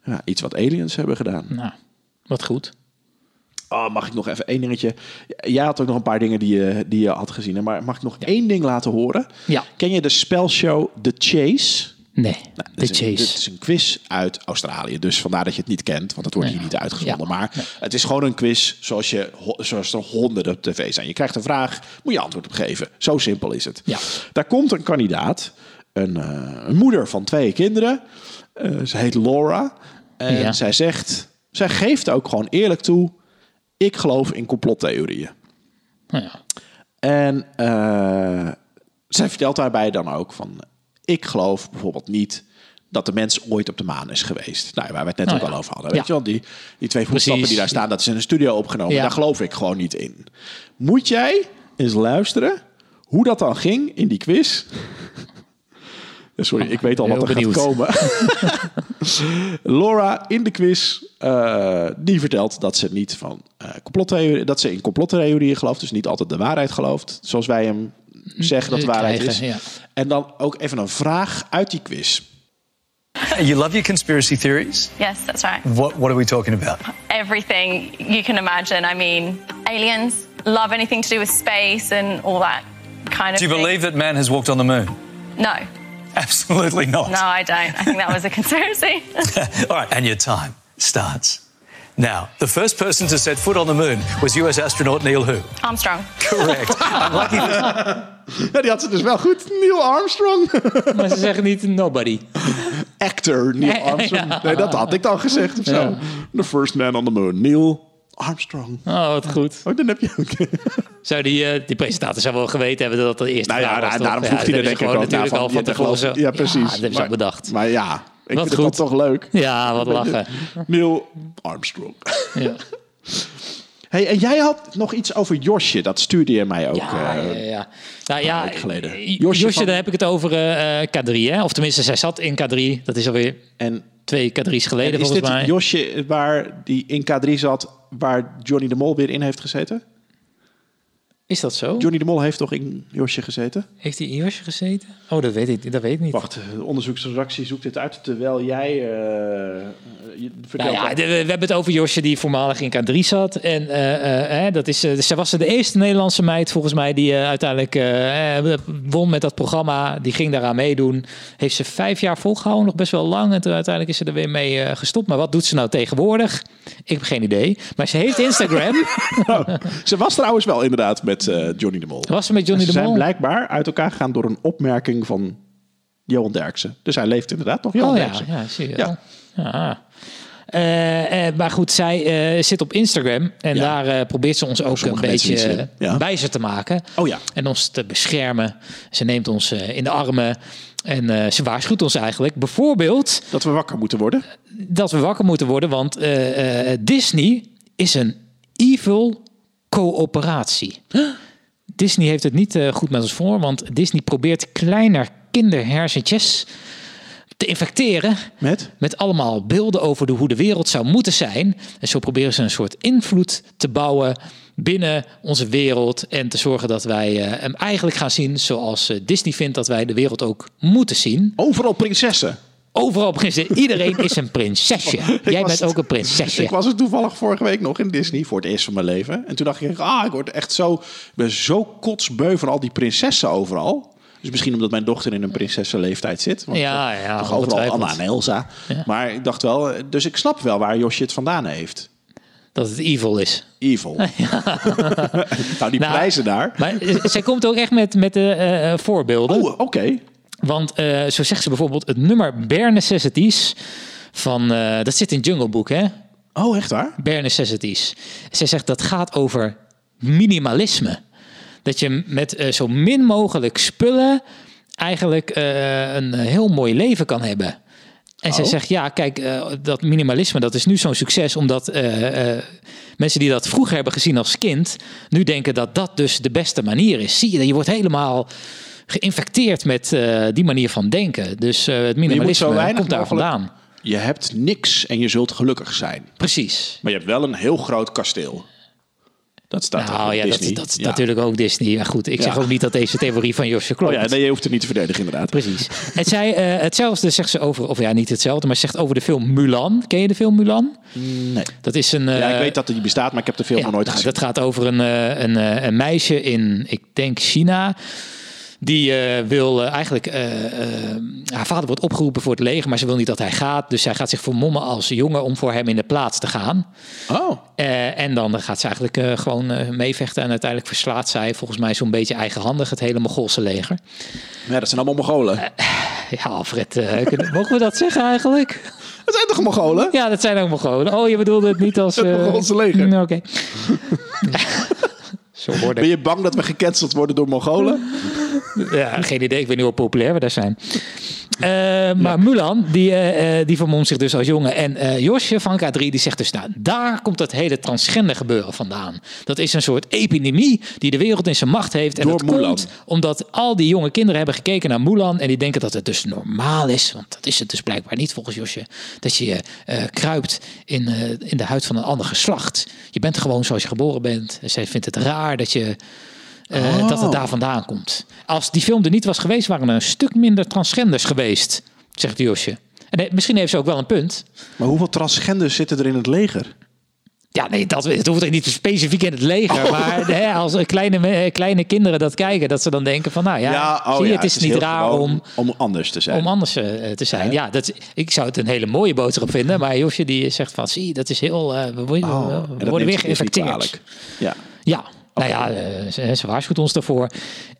[SPEAKER 1] ja, iets wat aliens hebben gedaan.
[SPEAKER 2] Nou, wat goed.
[SPEAKER 1] Oh, mag ik nog even één dingetje? Jij had ook nog een paar dingen die je, die je had gezien. hè, Maar mag ik nog één ding laten horen?
[SPEAKER 2] Ja.
[SPEAKER 1] Ken je de spelshow The Chase?
[SPEAKER 2] Nee, de
[SPEAKER 1] Nou, Dit is een- Dit
[SPEAKER 2] Chase.
[SPEAKER 1] is een quiz uit Australië. Dus vandaar dat je het niet kent, want het wordt hier niet uitgezonden.
[SPEAKER 2] Ja.
[SPEAKER 1] Maar het is gewoon een quiz zoals, je, ho- zoals er honderden op tv zijn. Je krijgt een vraag, moet je antwoord op geven. Zo simpel is het.
[SPEAKER 2] Ja.
[SPEAKER 1] Daar komt een kandidaat, een, eh, een moeder van twee kinderen. Eh, ze heet Laura. En
[SPEAKER 2] Ja.
[SPEAKER 1] zij zegt, zij geeft ook gewoon eerlijk toe... ik geloof in complottheorieën.
[SPEAKER 2] Nou ja.
[SPEAKER 1] En eh, zij vertelt daarbij dan ook van... ik geloof bijvoorbeeld niet dat de mens ooit op de maan is geweest. Nou, waar we het net
[SPEAKER 2] Oh,
[SPEAKER 1] ook
[SPEAKER 2] ja.
[SPEAKER 1] al over hadden.
[SPEAKER 2] Ja.
[SPEAKER 1] Weet je wel, die, die twee voetstappen die daar staan... dat is in een studio opgenomen.
[SPEAKER 2] Ja.
[SPEAKER 1] Daar geloof ik gewoon niet in. Moet jij eens luisteren hoe dat dan ging in die quiz... Eh, Sorry, ik weet al
[SPEAKER 2] ben
[SPEAKER 1] wat er
[SPEAKER 2] heel
[SPEAKER 1] gaat komen. Laura in de quiz, eh, die vertelt dat ze niet van eh, complottheorie, dat ze in complottheorieën gelooft, dus niet altijd de waarheid gelooft, zoals wij hem zeggen dat de
[SPEAKER 2] eh,
[SPEAKER 1] waarheid
[SPEAKER 2] krijgen,
[SPEAKER 1] is.
[SPEAKER 2] ja.
[SPEAKER 1] En dan ook even een vraag uit die quiz.
[SPEAKER 5] You love your conspiracy theories?
[SPEAKER 6] Yes, that's right.
[SPEAKER 5] What what are we talking about?
[SPEAKER 6] Everything you can imagine. I mean, aliens love anything to do with space and all that kind of
[SPEAKER 5] Do you
[SPEAKER 6] thing.
[SPEAKER 5] believe that man has walked on the moon?
[SPEAKER 6] No.
[SPEAKER 5] Absolutely not.
[SPEAKER 6] No, I don't. I think that was a conspiracy.
[SPEAKER 5] All right, and your time starts. Now, the first person to set foot on the moon was US astronaut Neil Who.
[SPEAKER 6] Armstrong.
[SPEAKER 5] Correct. I'm lucky that
[SPEAKER 1] Ja, die had ze dus wel goed. Neil Armstrong.
[SPEAKER 2] Maar ze zeggen niet nobody.
[SPEAKER 1] Actor Neil Armstrong. Nee, dat had ik dan gezegd of zo. The first man on the moon. Neil Armstrong.
[SPEAKER 2] Oh, wat goed.
[SPEAKER 1] Oh, dan heb je ook...
[SPEAKER 2] Zou die, eh, die presentator zou wel geweten hebben dat dat de eerste
[SPEAKER 1] Nou ja,
[SPEAKER 2] vraag was,
[SPEAKER 1] daar-
[SPEAKER 2] toch?
[SPEAKER 1] daarom vroeg
[SPEAKER 2] dat
[SPEAKER 1] hij er denk
[SPEAKER 2] hebben ze
[SPEAKER 1] ik ook
[SPEAKER 2] gewoon natuurlijk
[SPEAKER 1] naar
[SPEAKER 2] al van
[SPEAKER 1] ja, dat geloof-
[SPEAKER 2] tevoren. zo-
[SPEAKER 1] Ja, precies.
[SPEAKER 2] Ja, dat hebben ze
[SPEAKER 1] maar,
[SPEAKER 2] al bedacht.
[SPEAKER 1] Maar ja, ik
[SPEAKER 2] Wat
[SPEAKER 1] vind het
[SPEAKER 2] goed.
[SPEAKER 1] dan toch leuk.
[SPEAKER 2] Ja, wat lachen.
[SPEAKER 1] Neil Armstrong.
[SPEAKER 2] Ja.
[SPEAKER 1] Hey, en jij had nog iets over Josje. Dat stuurde je mij ook.
[SPEAKER 2] Ja,
[SPEAKER 1] eh,
[SPEAKER 2] ja, ja. Nou ja,
[SPEAKER 1] weken geleden.
[SPEAKER 2] eh,
[SPEAKER 1] Josje
[SPEAKER 2] Josje,
[SPEAKER 1] van-
[SPEAKER 2] daar heb ik het over eh, eh, K3, hè? Of tenminste, zij zat in K3. Dat is alweer
[SPEAKER 1] En
[SPEAKER 2] twee K3's geleden,
[SPEAKER 1] is
[SPEAKER 2] volgens
[SPEAKER 1] dit
[SPEAKER 2] mij.
[SPEAKER 1] Josje waar die in K3 zat, waar Johnny de Mol weer in heeft gezeten?
[SPEAKER 2] Is dat zo?
[SPEAKER 1] Johnny de Mol heeft toch in Josje gezeten?
[SPEAKER 2] Heeft hij in Josje gezeten? Oh, dat weet ik, dat weet ik niet.
[SPEAKER 1] Wacht, de onderzoeksredactie zoekt dit uit terwijl jij eh, je vertelt.
[SPEAKER 2] Nou ja,
[SPEAKER 1] dat-
[SPEAKER 2] de- we we hebben het over Josje die voormalig in K3 zat. En eh, eh, eh, dat is, eh, zij was de eerste Nederlandse meid volgens mij die eh, uiteindelijk eh, eh, won met dat programma. Die ging daaraan meedoen. Heeft ze vijf jaar volgehouden, nog best wel lang. En toen uiteindelijk is ze er weer mee eh, gestopt. Maar wat doet ze nou tegenwoordig? Ik heb geen idee. Maar ze heeft Instagram.
[SPEAKER 1] Ze was trouwens wel inderdaad met eh, Johnny de Mol.
[SPEAKER 2] was ze met
[SPEAKER 1] En
[SPEAKER 2] Johnny
[SPEAKER 1] ze
[SPEAKER 2] de
[SPEAKER 1] zijn
[SPEAKER 2] Mol?
[SPEAKER 1] blijkbaar uit elkaar gegaan door een opmerking van Johan Derksen. Dus hij leeft inderdaad nog Johan
[SPEAKER 2] Oh ja,
[SPEAKER 1] Derksen.
[SPEAKER 2] ja, zie je
[SPEAKER 1] Ja.
[SPEAKER 2] wel. Ja. Eh, eh, maar goed, zij eh, zit op Instagram en
[SPEAKER 1] Ja.
[SPEAKER 2] daar eh, probeert ze ons ook een
[SPEAKER 1] sommige mensen
[SPEAKER 2] beetje
[SPEAKER 1] niet zien. Ja.
[SPEAKER 2] eh, wijzer te maken.
[SPEAKER 1] Oh ja.
[SPEAKER 2] En ons te beschermen. Ze neemt ons eh, in de armen en eh, ze waarschuwt ons eigenlijk. Bijvoorbeeld
[SPEAKER 1] Dat we wakker moeten worden.
[SPEAKER 2] dat we wakker moeten worden, want eh, eh, Disney is een evil coöperatie. Disney heeft het niet eh, goed met ons voor, want Disney probeert kleiner kinderhersentjes te infecteren
[SPEAKER 1] Met?
[SPEAKER 2] met allemaal beelden over de, hoe de wereld zou moeten zijn. En zo proberen ze een soort invloed te bouwen binnen onze wereld. En te zorgen dat wij eh, hem eigenlijk gaan zien zoals eh, Disney vindt dat wij de wereld ook moeten zien.
[SPEAKER 1] Overal prinsessen.
[SPEAKER 2] Overal prinsen. Iedereen is een prinsesje. Jij
[SPEAKER 1] was
[SPEAKER 2] bent
[SPEAKER 1] het.
[SPEAKER 2] ook een prinsesje.
[SPEAKER 1] Ik was er toevallig vorige week nog in Disney voor het eerst van mijn leven. En toen dacht ik, ah, ik word echt zo, ik ben zo kotsbeu van al die prinsessen overal. Dus misschien omdat mijn dochter in een prinsessenleeftijd zit. Want
[SPEAKER 2] Ja,
[SPEAKER 1] eh,
[SPEAKER 2] ja,
[SPEAKER 1] toch overal
[SPEAKER 2] ongetwijfeld.
[SPEAKER 1] Anna en Elsa. Maar ik dacht wel, eh, dus ik snap wel waar Josje het vandaan heeft.
[SPEAKER 2] Dat het evil is.
[SPEAKER 1] Evil. nou, die
[SPEAKER 2] Nou,
[SPEAKER 1] prijzen daar.
[SPEAKER 2] Maar eh, zij komt ook echt met, met de eh, eh, voorbeelden.
[SPEAKER 1] Oh, oké.
[SPEAKER 2] Want eh, zo zegt ze bijvoorbeeld het nummer Bare Necessities. Van, eh, dat zit in Jungle Book, hè?
[SPEAKER 1] Oh, echt waar?
[SPEAKER 2] bare necessities. Zij zegt dat gaat over minimalisme. Dat je met eh, zo min mogelijk spullen eigenlijk eh, een heel mooi leven kan hebben. En zij
[SPEAKER 1] Oh.
[SPEAKER 2] zegt, ja, kijk, eh, dat minimalisme, dat is nu zo'n succes, omdat eh, eh, mensen die dat vroeger hebben gezien als kind, nu denken dat dat dus de beste manier is. Zie je, je wordt helemaal geïnfecteerd met eh, die manier van denken. Dus eh, het
[SPEAKER 1] zo
[SPEAKER 2] minimalisme
[SPEAKER 1] weinig
[SPEAKER 2] komt daar
[SPEAKER 1] mogelijk-
[SPEAKER 2] vandaan.
[SPEAKER 1] Je hebt niks en je zult gelukkig zijn.
[SPEAKER 2] Precies.
[SPEAKER 1] Maar je hebt wel een heel groot kasteel. Dat staat er
[SPEAKER 2] Nou
[SPEAKER 1] op
[SPEAKER 2] ja, dat,
[SPEAKER 1] Disney.
[SPEAKER 2] dat is
[SPEAKER 1] Ja.
[SPEAKER 2] natuurlijk ook Disney. Maar goed, ik zeg
[SPEAKER 1] Ja.
[SPEAKER 2] ook niet dat deze theorie van Josje
[SPEAKER 1] Oh
[SPEAKER 2] klopt.
[SPEAKER 1] ja, nee, je hoeft het niet te verdedigen inderdaad.
[SPEAKER 2] Precies. En zij, eh, hetzelfde zegt ze over, of ja, niet hetzelfde, maar ze zegt over de film Mulan. Ken je de film Mulan? Nee. Dat is een.
[SPEAKER 1] Ja, ik
[SPEAKER 2] eh,
[SPEAKER 1] weet dat die bestaat, maar ik heb de film
[SPEAKER 2] ja,
[SPEAKER 1] nog nooit
[SPEAKER 2] nou,
[SPEAKER 1] gezien.
[SPEAKER 2] Dat gaat over een, eh, een, eh, een meisje in, ik denk China. Die eh, wil eh, eigenlijk. eh, eh, haar vader wordt opgeroepen voor het leger, maar ze wil niet dat hij gaat. Dus zij gaat zich vermommen als jongen om voor hem in de plaats te gaan.
[SPEAKER 1] Oh,
[SPEAKER 2] Eh, en dan gaat ze eigenlijk eh, gewoon eh, meevechten. En uiteindelijk verslaat zij volgens mij zo'n beetje eigenhandig het hele Mongoolse leger.
[SPEAKER 1] ja, dat zijn allemaal Mongolen.
[SPEAKER 2] Eh. Ja, Alfred, eh, kunnen- mogen we dat zeggen eigenlijk?
[SPEAKER 1] dat zijn toch Mongolen?
[SPEAKER 2] Ja, dat zijn ook Mongolen. Oh, je bedoelde het niet als...
[SPEAKER 1] Het
[SPEAKER 2] eh,
[SPEAKER 1] Mongoolse leger.
[SPEAKER 2] Mm, Oké. Zo hoorde
[SPEAKER 1] Ben
[SPEAKER 2] ik.
[SPEAKER 1] je bang dat we gecanceld worden door Mongolen?
[SPEAKER 2] Ja, geen idee. Ik weet niet hoe populair we daar zijn. Eh, maar Mulan, die, eh eh, die vermomt zich dus als jongen. En eh, Josje van K3, die zegt dus, nou, daar komt dat hele transgender gebeuren vandaan. Dat is een soort epidemie die de wereld in zijn macht heeft. En
[SPEAKER 1] Door
[SPEAKER 2] dat
[SPEAKER 1] Mulan.
[SPEAKER 2] komt omdat al die jonge kinderen hebben gekeken naar Mulan. En die denken dat het dus normaal is. Want dat is het dus blijkbaar niet volgens Josje. Dat je eh, kruipt in, eh, in de huid van een ander geslacht. Je bent gewoon zoals je geboren bent. En zij vindt het raar dat je... eh, Dat
[SPEAKER 1] Oh.
[SPEAKER 2] het daar vandaan komt. Als die film er niet was geweest, waren er een stuk minder transgenders geweest, zegt Josje. En eh, misschien heeft ze ook wel een punt.
[SPEAKER 1] Maar hoeveel transgenders zitten er in het leger?
[SPEAKER 2] Ja, nee, dat, het hoeft ook niet specifiek in het leger.
[SPEAKER 1] Oh.
[SPEAKER 2] Maar hè, als eh, kleine, me- eh, kleine kinderen dat kijken, dat ze dan denken van... Nou ja,
[SPEAKER 1] oh
[SPEAKER 2] zie je, het is, niet
[SPEAKER 1] heel
[SPEAKER 2] raar
[SPEAKER 1] gewoon
[SPEAKER 2] om,
[SPEAKER 1] om anders te zijn.
[SPEAKER 2] om anders eh, te zijn. Ja, dat, is- ik zou het een hele mooie boodschap vinden. Maar Josje die zegt van, zie, dat is heel... eh, we worden,
[SPEAKER 1] Oh, en dat
[SPEAKER 2] we
[SPEAKER 1] neemt ze
[SPEAKER 2] worden weer
[SPEAKER 1] dus niet
[SPEAKER 2] geïnfecteerd.
[SPEAKER 1] kwalijk. Ja.
[SPEAKER 2] Ja, nou ja, eh, ze, ze waarschuwt ons daarvoor.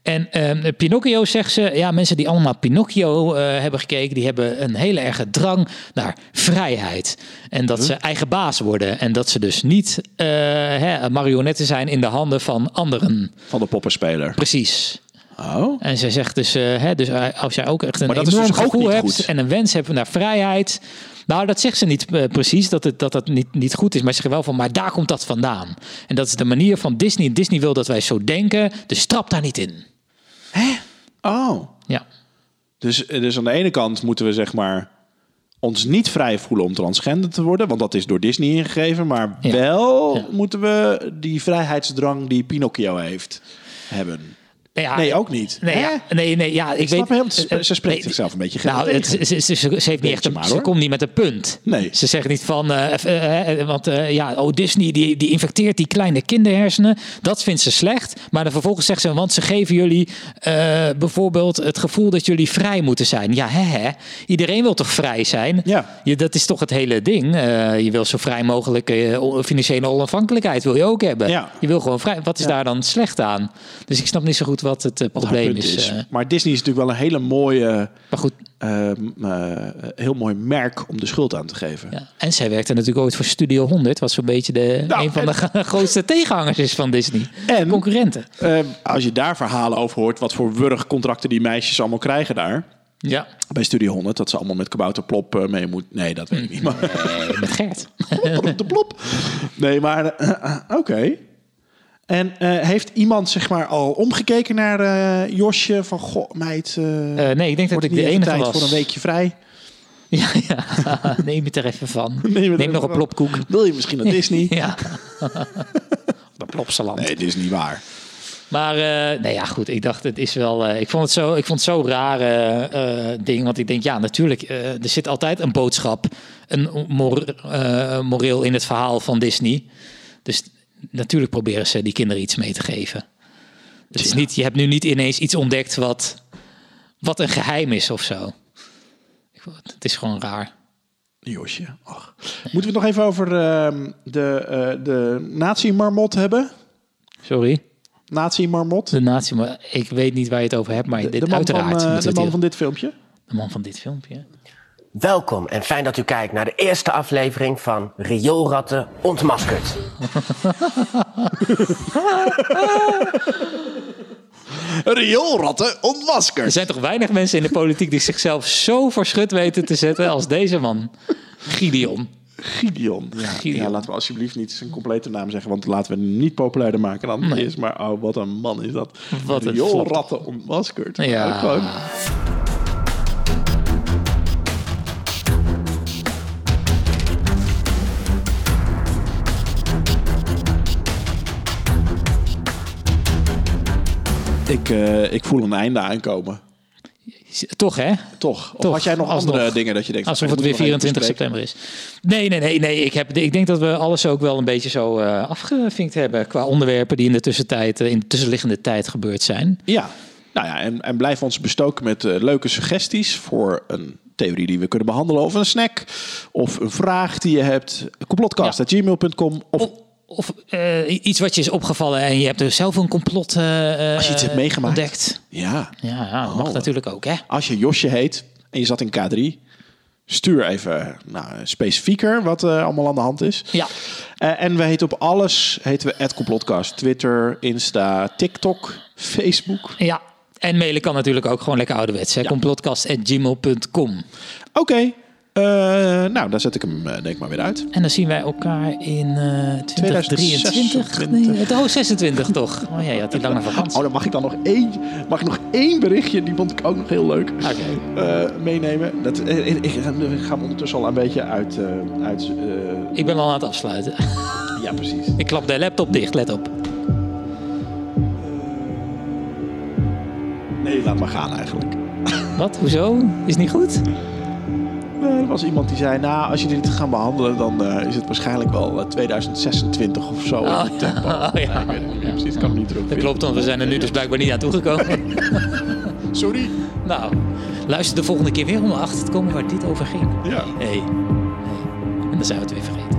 [SPEAKER 2] En ehm, Pinocchio zegt ze, ja, mensen die allemaal Pinocchio eh, hebben gekeken, die hebben een hele erge drang naar vrijheid. En dat ze eigen baas worden. En dat ze dus niet eh, hè, marionetten zijn in de handen van anderen.
[SPEAKER 1] Van de poppenspeler.
[SPEAKER 2] Precies.
[SPEAKER 1] Oh.
[SPEAKER 2] En zij zegt dus, eh, hè, dus eh, als jij ook echt een
[SPEAKER 1] Maar dat is
[SPEAKER 2] enorm
[SPEAKER 1] dus ook
[SPEAKER 2] gevoel
[SPEAKER 1] niet
[SPEAKER 2] hebt
[SPEAKER 1] goed.
[SPEAKER 2] en een wens hebt naar vrijheid. Nou, dat zegt ze niet eh, precies, dat het, dat, dat niet, niet goed is. Maar ze zegt wel van, maar daar komt dat vandaan. En dat is de manier van Disney. Disney wil dat wij zo denken, dus trap daar niet in.
[SPEAKER 1] Oh.
[SPEAKER 2] Ja,
[SPEAKER 1] Dus, dus aan de ene kant moeten we zeg maar ons niet vrij voelen om transgender te worden, want dat is door Disney ingegeven, maar
[SPEAKER 2] Ja.
[SPEAKER 1] wel
[SPEAKER 2] Ja.
[SPEAKER 1] moeten we die vrijheidsdrang die Pinocchio heeft hebben.
[SPEAKER 2] Nou ja,
[SPEAKER 1] Nee, ook niet.
[SPEAKER 2] Nee,
[SPEAKER 1] Hè?
[SPEAKER 2] ja, nee, nee, ja, ik,
[SPEAKER 1] Ik snap
[SPEAKER 2] weet...
[SPEAKER 1] hem, ze-
[SPEAKER 2] eh,
[SPEAKER 1] ze spreekt
[SPEAKER 2] nee,
[SPEAKER 1] zichzelf een beetje
[SPEAKER 2] Nou,
[SPEAKER 1] tegen.
[SPEAKER 2] het, ze, ze, ze- ze heeft niet echt een,
[SPEAKER 1] maar,
[SPEAKER 2] ze
[SPEAKER 1] hoor.
[SPEAKER 2] komt niet met een punt.
[SPEAKER 1] Nee.
[SPEAKER 2] Ze zegt niet van, eh, f- eh, eh, want eh, ja, oh Disney die, die infecteert die kleine kinderhersenen. Dat vindt ze slecht. Maar dan vervolgens zegt ze, want ze geven jullie eh, bijvoorbeeld het gevoel dat jullie vrij moeten zijn. Ja, hè, hè. Iedereen wil toch vrij zijn?
[SPEAKER 1] Ja.
[SPEAKER 2] Je, dat is toch het hele ding. Eh, je wil zo vrij mogelijk eh, o- financiële onafhankelijkheid wil je ook hebben.
[SPEAKER 1] Ja.
[SPEAKER 2] Je wil gewoon vrij. Wat is
[SPEAKER 1] Ja.
[SPEAKER 2] daar dan slecht aan? Dus ik snap niet zo goed wat het eh,
[SPEAKER 1] Wat haar
[SPEAKER 2] probleem
[SPEAKER 1] punt
[SPEAKER 2] is. eh.
[SPEAKER 1] Maar Disney is natuurlijk wel een hele mooie,
[SPEAKER 2] maar goed,
[SPEAKER 1] ehm, eh, heel mooi merk om de schuld aan te geven.
[SPEAKER 2] Ja, en zij werkte natuurlijk ooit voor Studio 100, wat zo'n beetje de,
[SPEAKER 1] Nou,
[SPEAKER 2] een van de grootste tegenhangers is van Disney.
[SPEAKER 1] En-
[SPEAKER 2] concurrenten.
[SPEAKER 1] Ehm, als je daar verhalen over hoort, wat voor wurgcontracten die meisjes allemaal krijgen daar
[SPEAKER 2] Ja,
[SPEAKER 1] bij Studio 100, dat ze allemaal met kabouterplop eh, mee moet. Nee, dat weet ik niet. Maar
[SPEAKER 2] eh, met Gert.
[SPEAKER 1] Plop de plop. Nee, maar eh, oké. En eh, heeft iemand zeg maar al omgekeken naar eh, Josje van goh, meid, eh
[SPEAKER 2] Eh, nee, ik denk dat
[SPEAKER 1] wordt het
[SPEAKER 2] ik de
[SPEAKER 1] niet
[SPEAKER 2] enige
[SPEAKER 1] even tijd
[SPEAKER 2] was.
[SPEAKER 1] voor een weekje vrij?
[SPEAKER 2] Ja, ja. neem het er even van.
[SPEAKER 1] het
[SPEAKER 2] Neem,
[SPEAKER 1] er even
[SPEAKER 2] nog een
[SPEAKER 1] van.
[SPEAKER 2] plopkoek.
[SPEAKER 1] Wil je misschien naar Disney?
[SPEAKER 2] Ja. Dat plopsaland.
[SPEAKER 1] Nee, dit is niet waar.
[SPEAKER 2] Maar eh, nee, ja, goed. Ik dacht, het is wel. eh, ik vond het zo, ik vond het zo raar eh, eh, ding. Want ik denk, ja, natuurlijk, eh, er zit altijd een boodschap, een mor- eh, moreel in het verhaal van Disney. Dus natuurlijk proberen ze die kinderen iets mee te geven. Het is niet, je hebt nu niet ineens iets ontdekt wat, wat een geheim is of zo. Ik vond het- Het is gewoon raar.
[SPEAKER 1] Josje. Och. Moeten we het nog even over ehm, de, eh, de nazi-marmot hebben?
[SPEAKER 2] Sorry.
[SPEAKER 1] Nazi-marmot?
[SPEAKER 2] De natie, maar ik weet niet waar je het over hebt, maar dit, uiteraard.
[SPEAKER 1] van, eh,
[SPEAKER 2] moeten we
[SPEAKER 1] de
[SPEAKER 2] het
[SPEAKER 1] man
[SPEAKER 2] hier-
[SPEAKER 1] van dit filmpje?
[SPEAKER 2] de man van dit filmpje.
[SPEAKER 7] Welkom en fijn dat u kijkt naar de eerste aflevering van Rioolratten Ontmaskerd.
[SPEAKER 1] Rioolratten ontmaskerd.
[SPEAKER 2] Er zijn toch weinig mensen in de politiek die zichzelf zo voor schut weten te zetten als deze man. Gideon.
[SPEAKER 1] Gideon. Ja,
[SPEAKER 2] Gideon.
[SPEAKER 1] ja, laten we alsjeblieft niet zijn complete naam zeggen, want laten we hem niet populairder maken dan het is. Maar oh, wat een man is dat.
[SPEAKER 2] Wat een
[SPEAKER 1] Riool
[SPEAKER 2] flap.
[SPEAKER 1] ratten ontmaskerd.
[SPEAKER 2] Ja.
[SPEAKER 1] Ook gewoon. Ik, eh, ik voel een einde aankomen.
[SPEAKER 2] Toch hè?
[SPEAKER 1] Toch? Of
[SPEAKER 2] Toch,
[SPEAKER 1] had jij nog
[SPEAKER 2] alsnog.
[SPEAKER 1] andere dingen dat je denkt...
[SPEAKER 2] Alsof
[SPEAKER 1] dat
[SPEAKER 2] het weer
[SPEAKER 1] moeten we nog even
[SPEAKER 2] 24
[SPEAKER 1] bespreken?
[SPEAKER 2] september is. Nee, nee, nee. nee. Ik, heb, ik denk dat we alles ook wel een beetje zo eh, afgevinkt hebben. Qua onderwerpen die in de tussentijd, eh, in de tussenliggende tijd gebeurd zijn.
[SPEAKER 1] Ja, nou ja, en, en blijf ons bestoken met eh, leuke suggesties voor een theorie die we kunnen behandelen, of een snack, of een vraag die je hebt. Complotcast.gmail.com. Of
[SPEAKER 2] Of, of eh, iets wat je is opgevallen en je hebt er zelf een complot eh,
[SPEAKER 1] als je iets hebt meegemaakt.
[SPEAKER 2] ontdekt.
[SPEAKER 1] Ja,
[SPEAKER 2] Ja, ja dat mag
[SPEAKER 1] Oh.
[SPEAKER 2] natuurlijk ook hè.
[SPEAKER 1] als je Josje heet en je zat in K3, stuur even nou, specifieker wat eh, allemaal aan de hand is.
[SPEAKER 2] Ja.
[SPEAKER 1] Eh, en we heten op alles, heten we @complotcast, Twitter, Insta, TikTok, Facebook.
[SPEAKER 2] Ja. En mailen kan natuurlijk ook gewoon lekker ouderwets. hè. Complotcast.gmail.com.
[SPEAKER 1] Oké. eh, nou, dan zet ik hem eh, denk ik maar weer uit.
[SPEAKER 2] En dan zien wij elkaar in eh 2023. Nee, het- oh, 26 toch? Oh ja, je had die lange vakantie.
[SPEAKER 1] Oh, dan mag ik dan nog één, mag ik nog één berichtje. Die vond ik ook nog heel leuk.
[SPEAKER 2] Oké.
[SPEAKER 1] eh, meenemen. Dat, eh, ik, ik ga ik ga hem ondertussen al een beetje uit. eh, uit eh,
[SPEAKER 2] Ik ben al aan het afsluiten.
[SPEAKER 1] ja, precies.
[SPEAKER 2] Ik klap de laptop dicht, let op.
[SPEAKER 1] Nee, laat maar gaan eigenlijk.
[SPEAKER 2] Wat? Hoezo? Is niet goed?
[SPEAKER 1] Eh, er was iemand die zei, nou, als je dit gaat behandelen, dan eh, is het waarschijnlijk wel eh, 2026 of zo.
[SPEAKER 2] Oh,
[SPEAKER 1] in het tempo.
[SPEAKER 2] ja.
[SPEAKER 1] Nee, ik weet het niet meer precies, ik kan hem niet erop
[SPEAKER 2] Dat klopt, want we zijn er nu dus blijkbaar niet aan toegekomen.
[SPEAKER 1] Sorry.
[SPEAKER 2] nou, luister de volgende keer weer om achter te komen waar dit over ging.
[SPEAKER 1] Ja.
[SPEAKER 2] Hé. Hey. En dan zijn we het weer vergeten.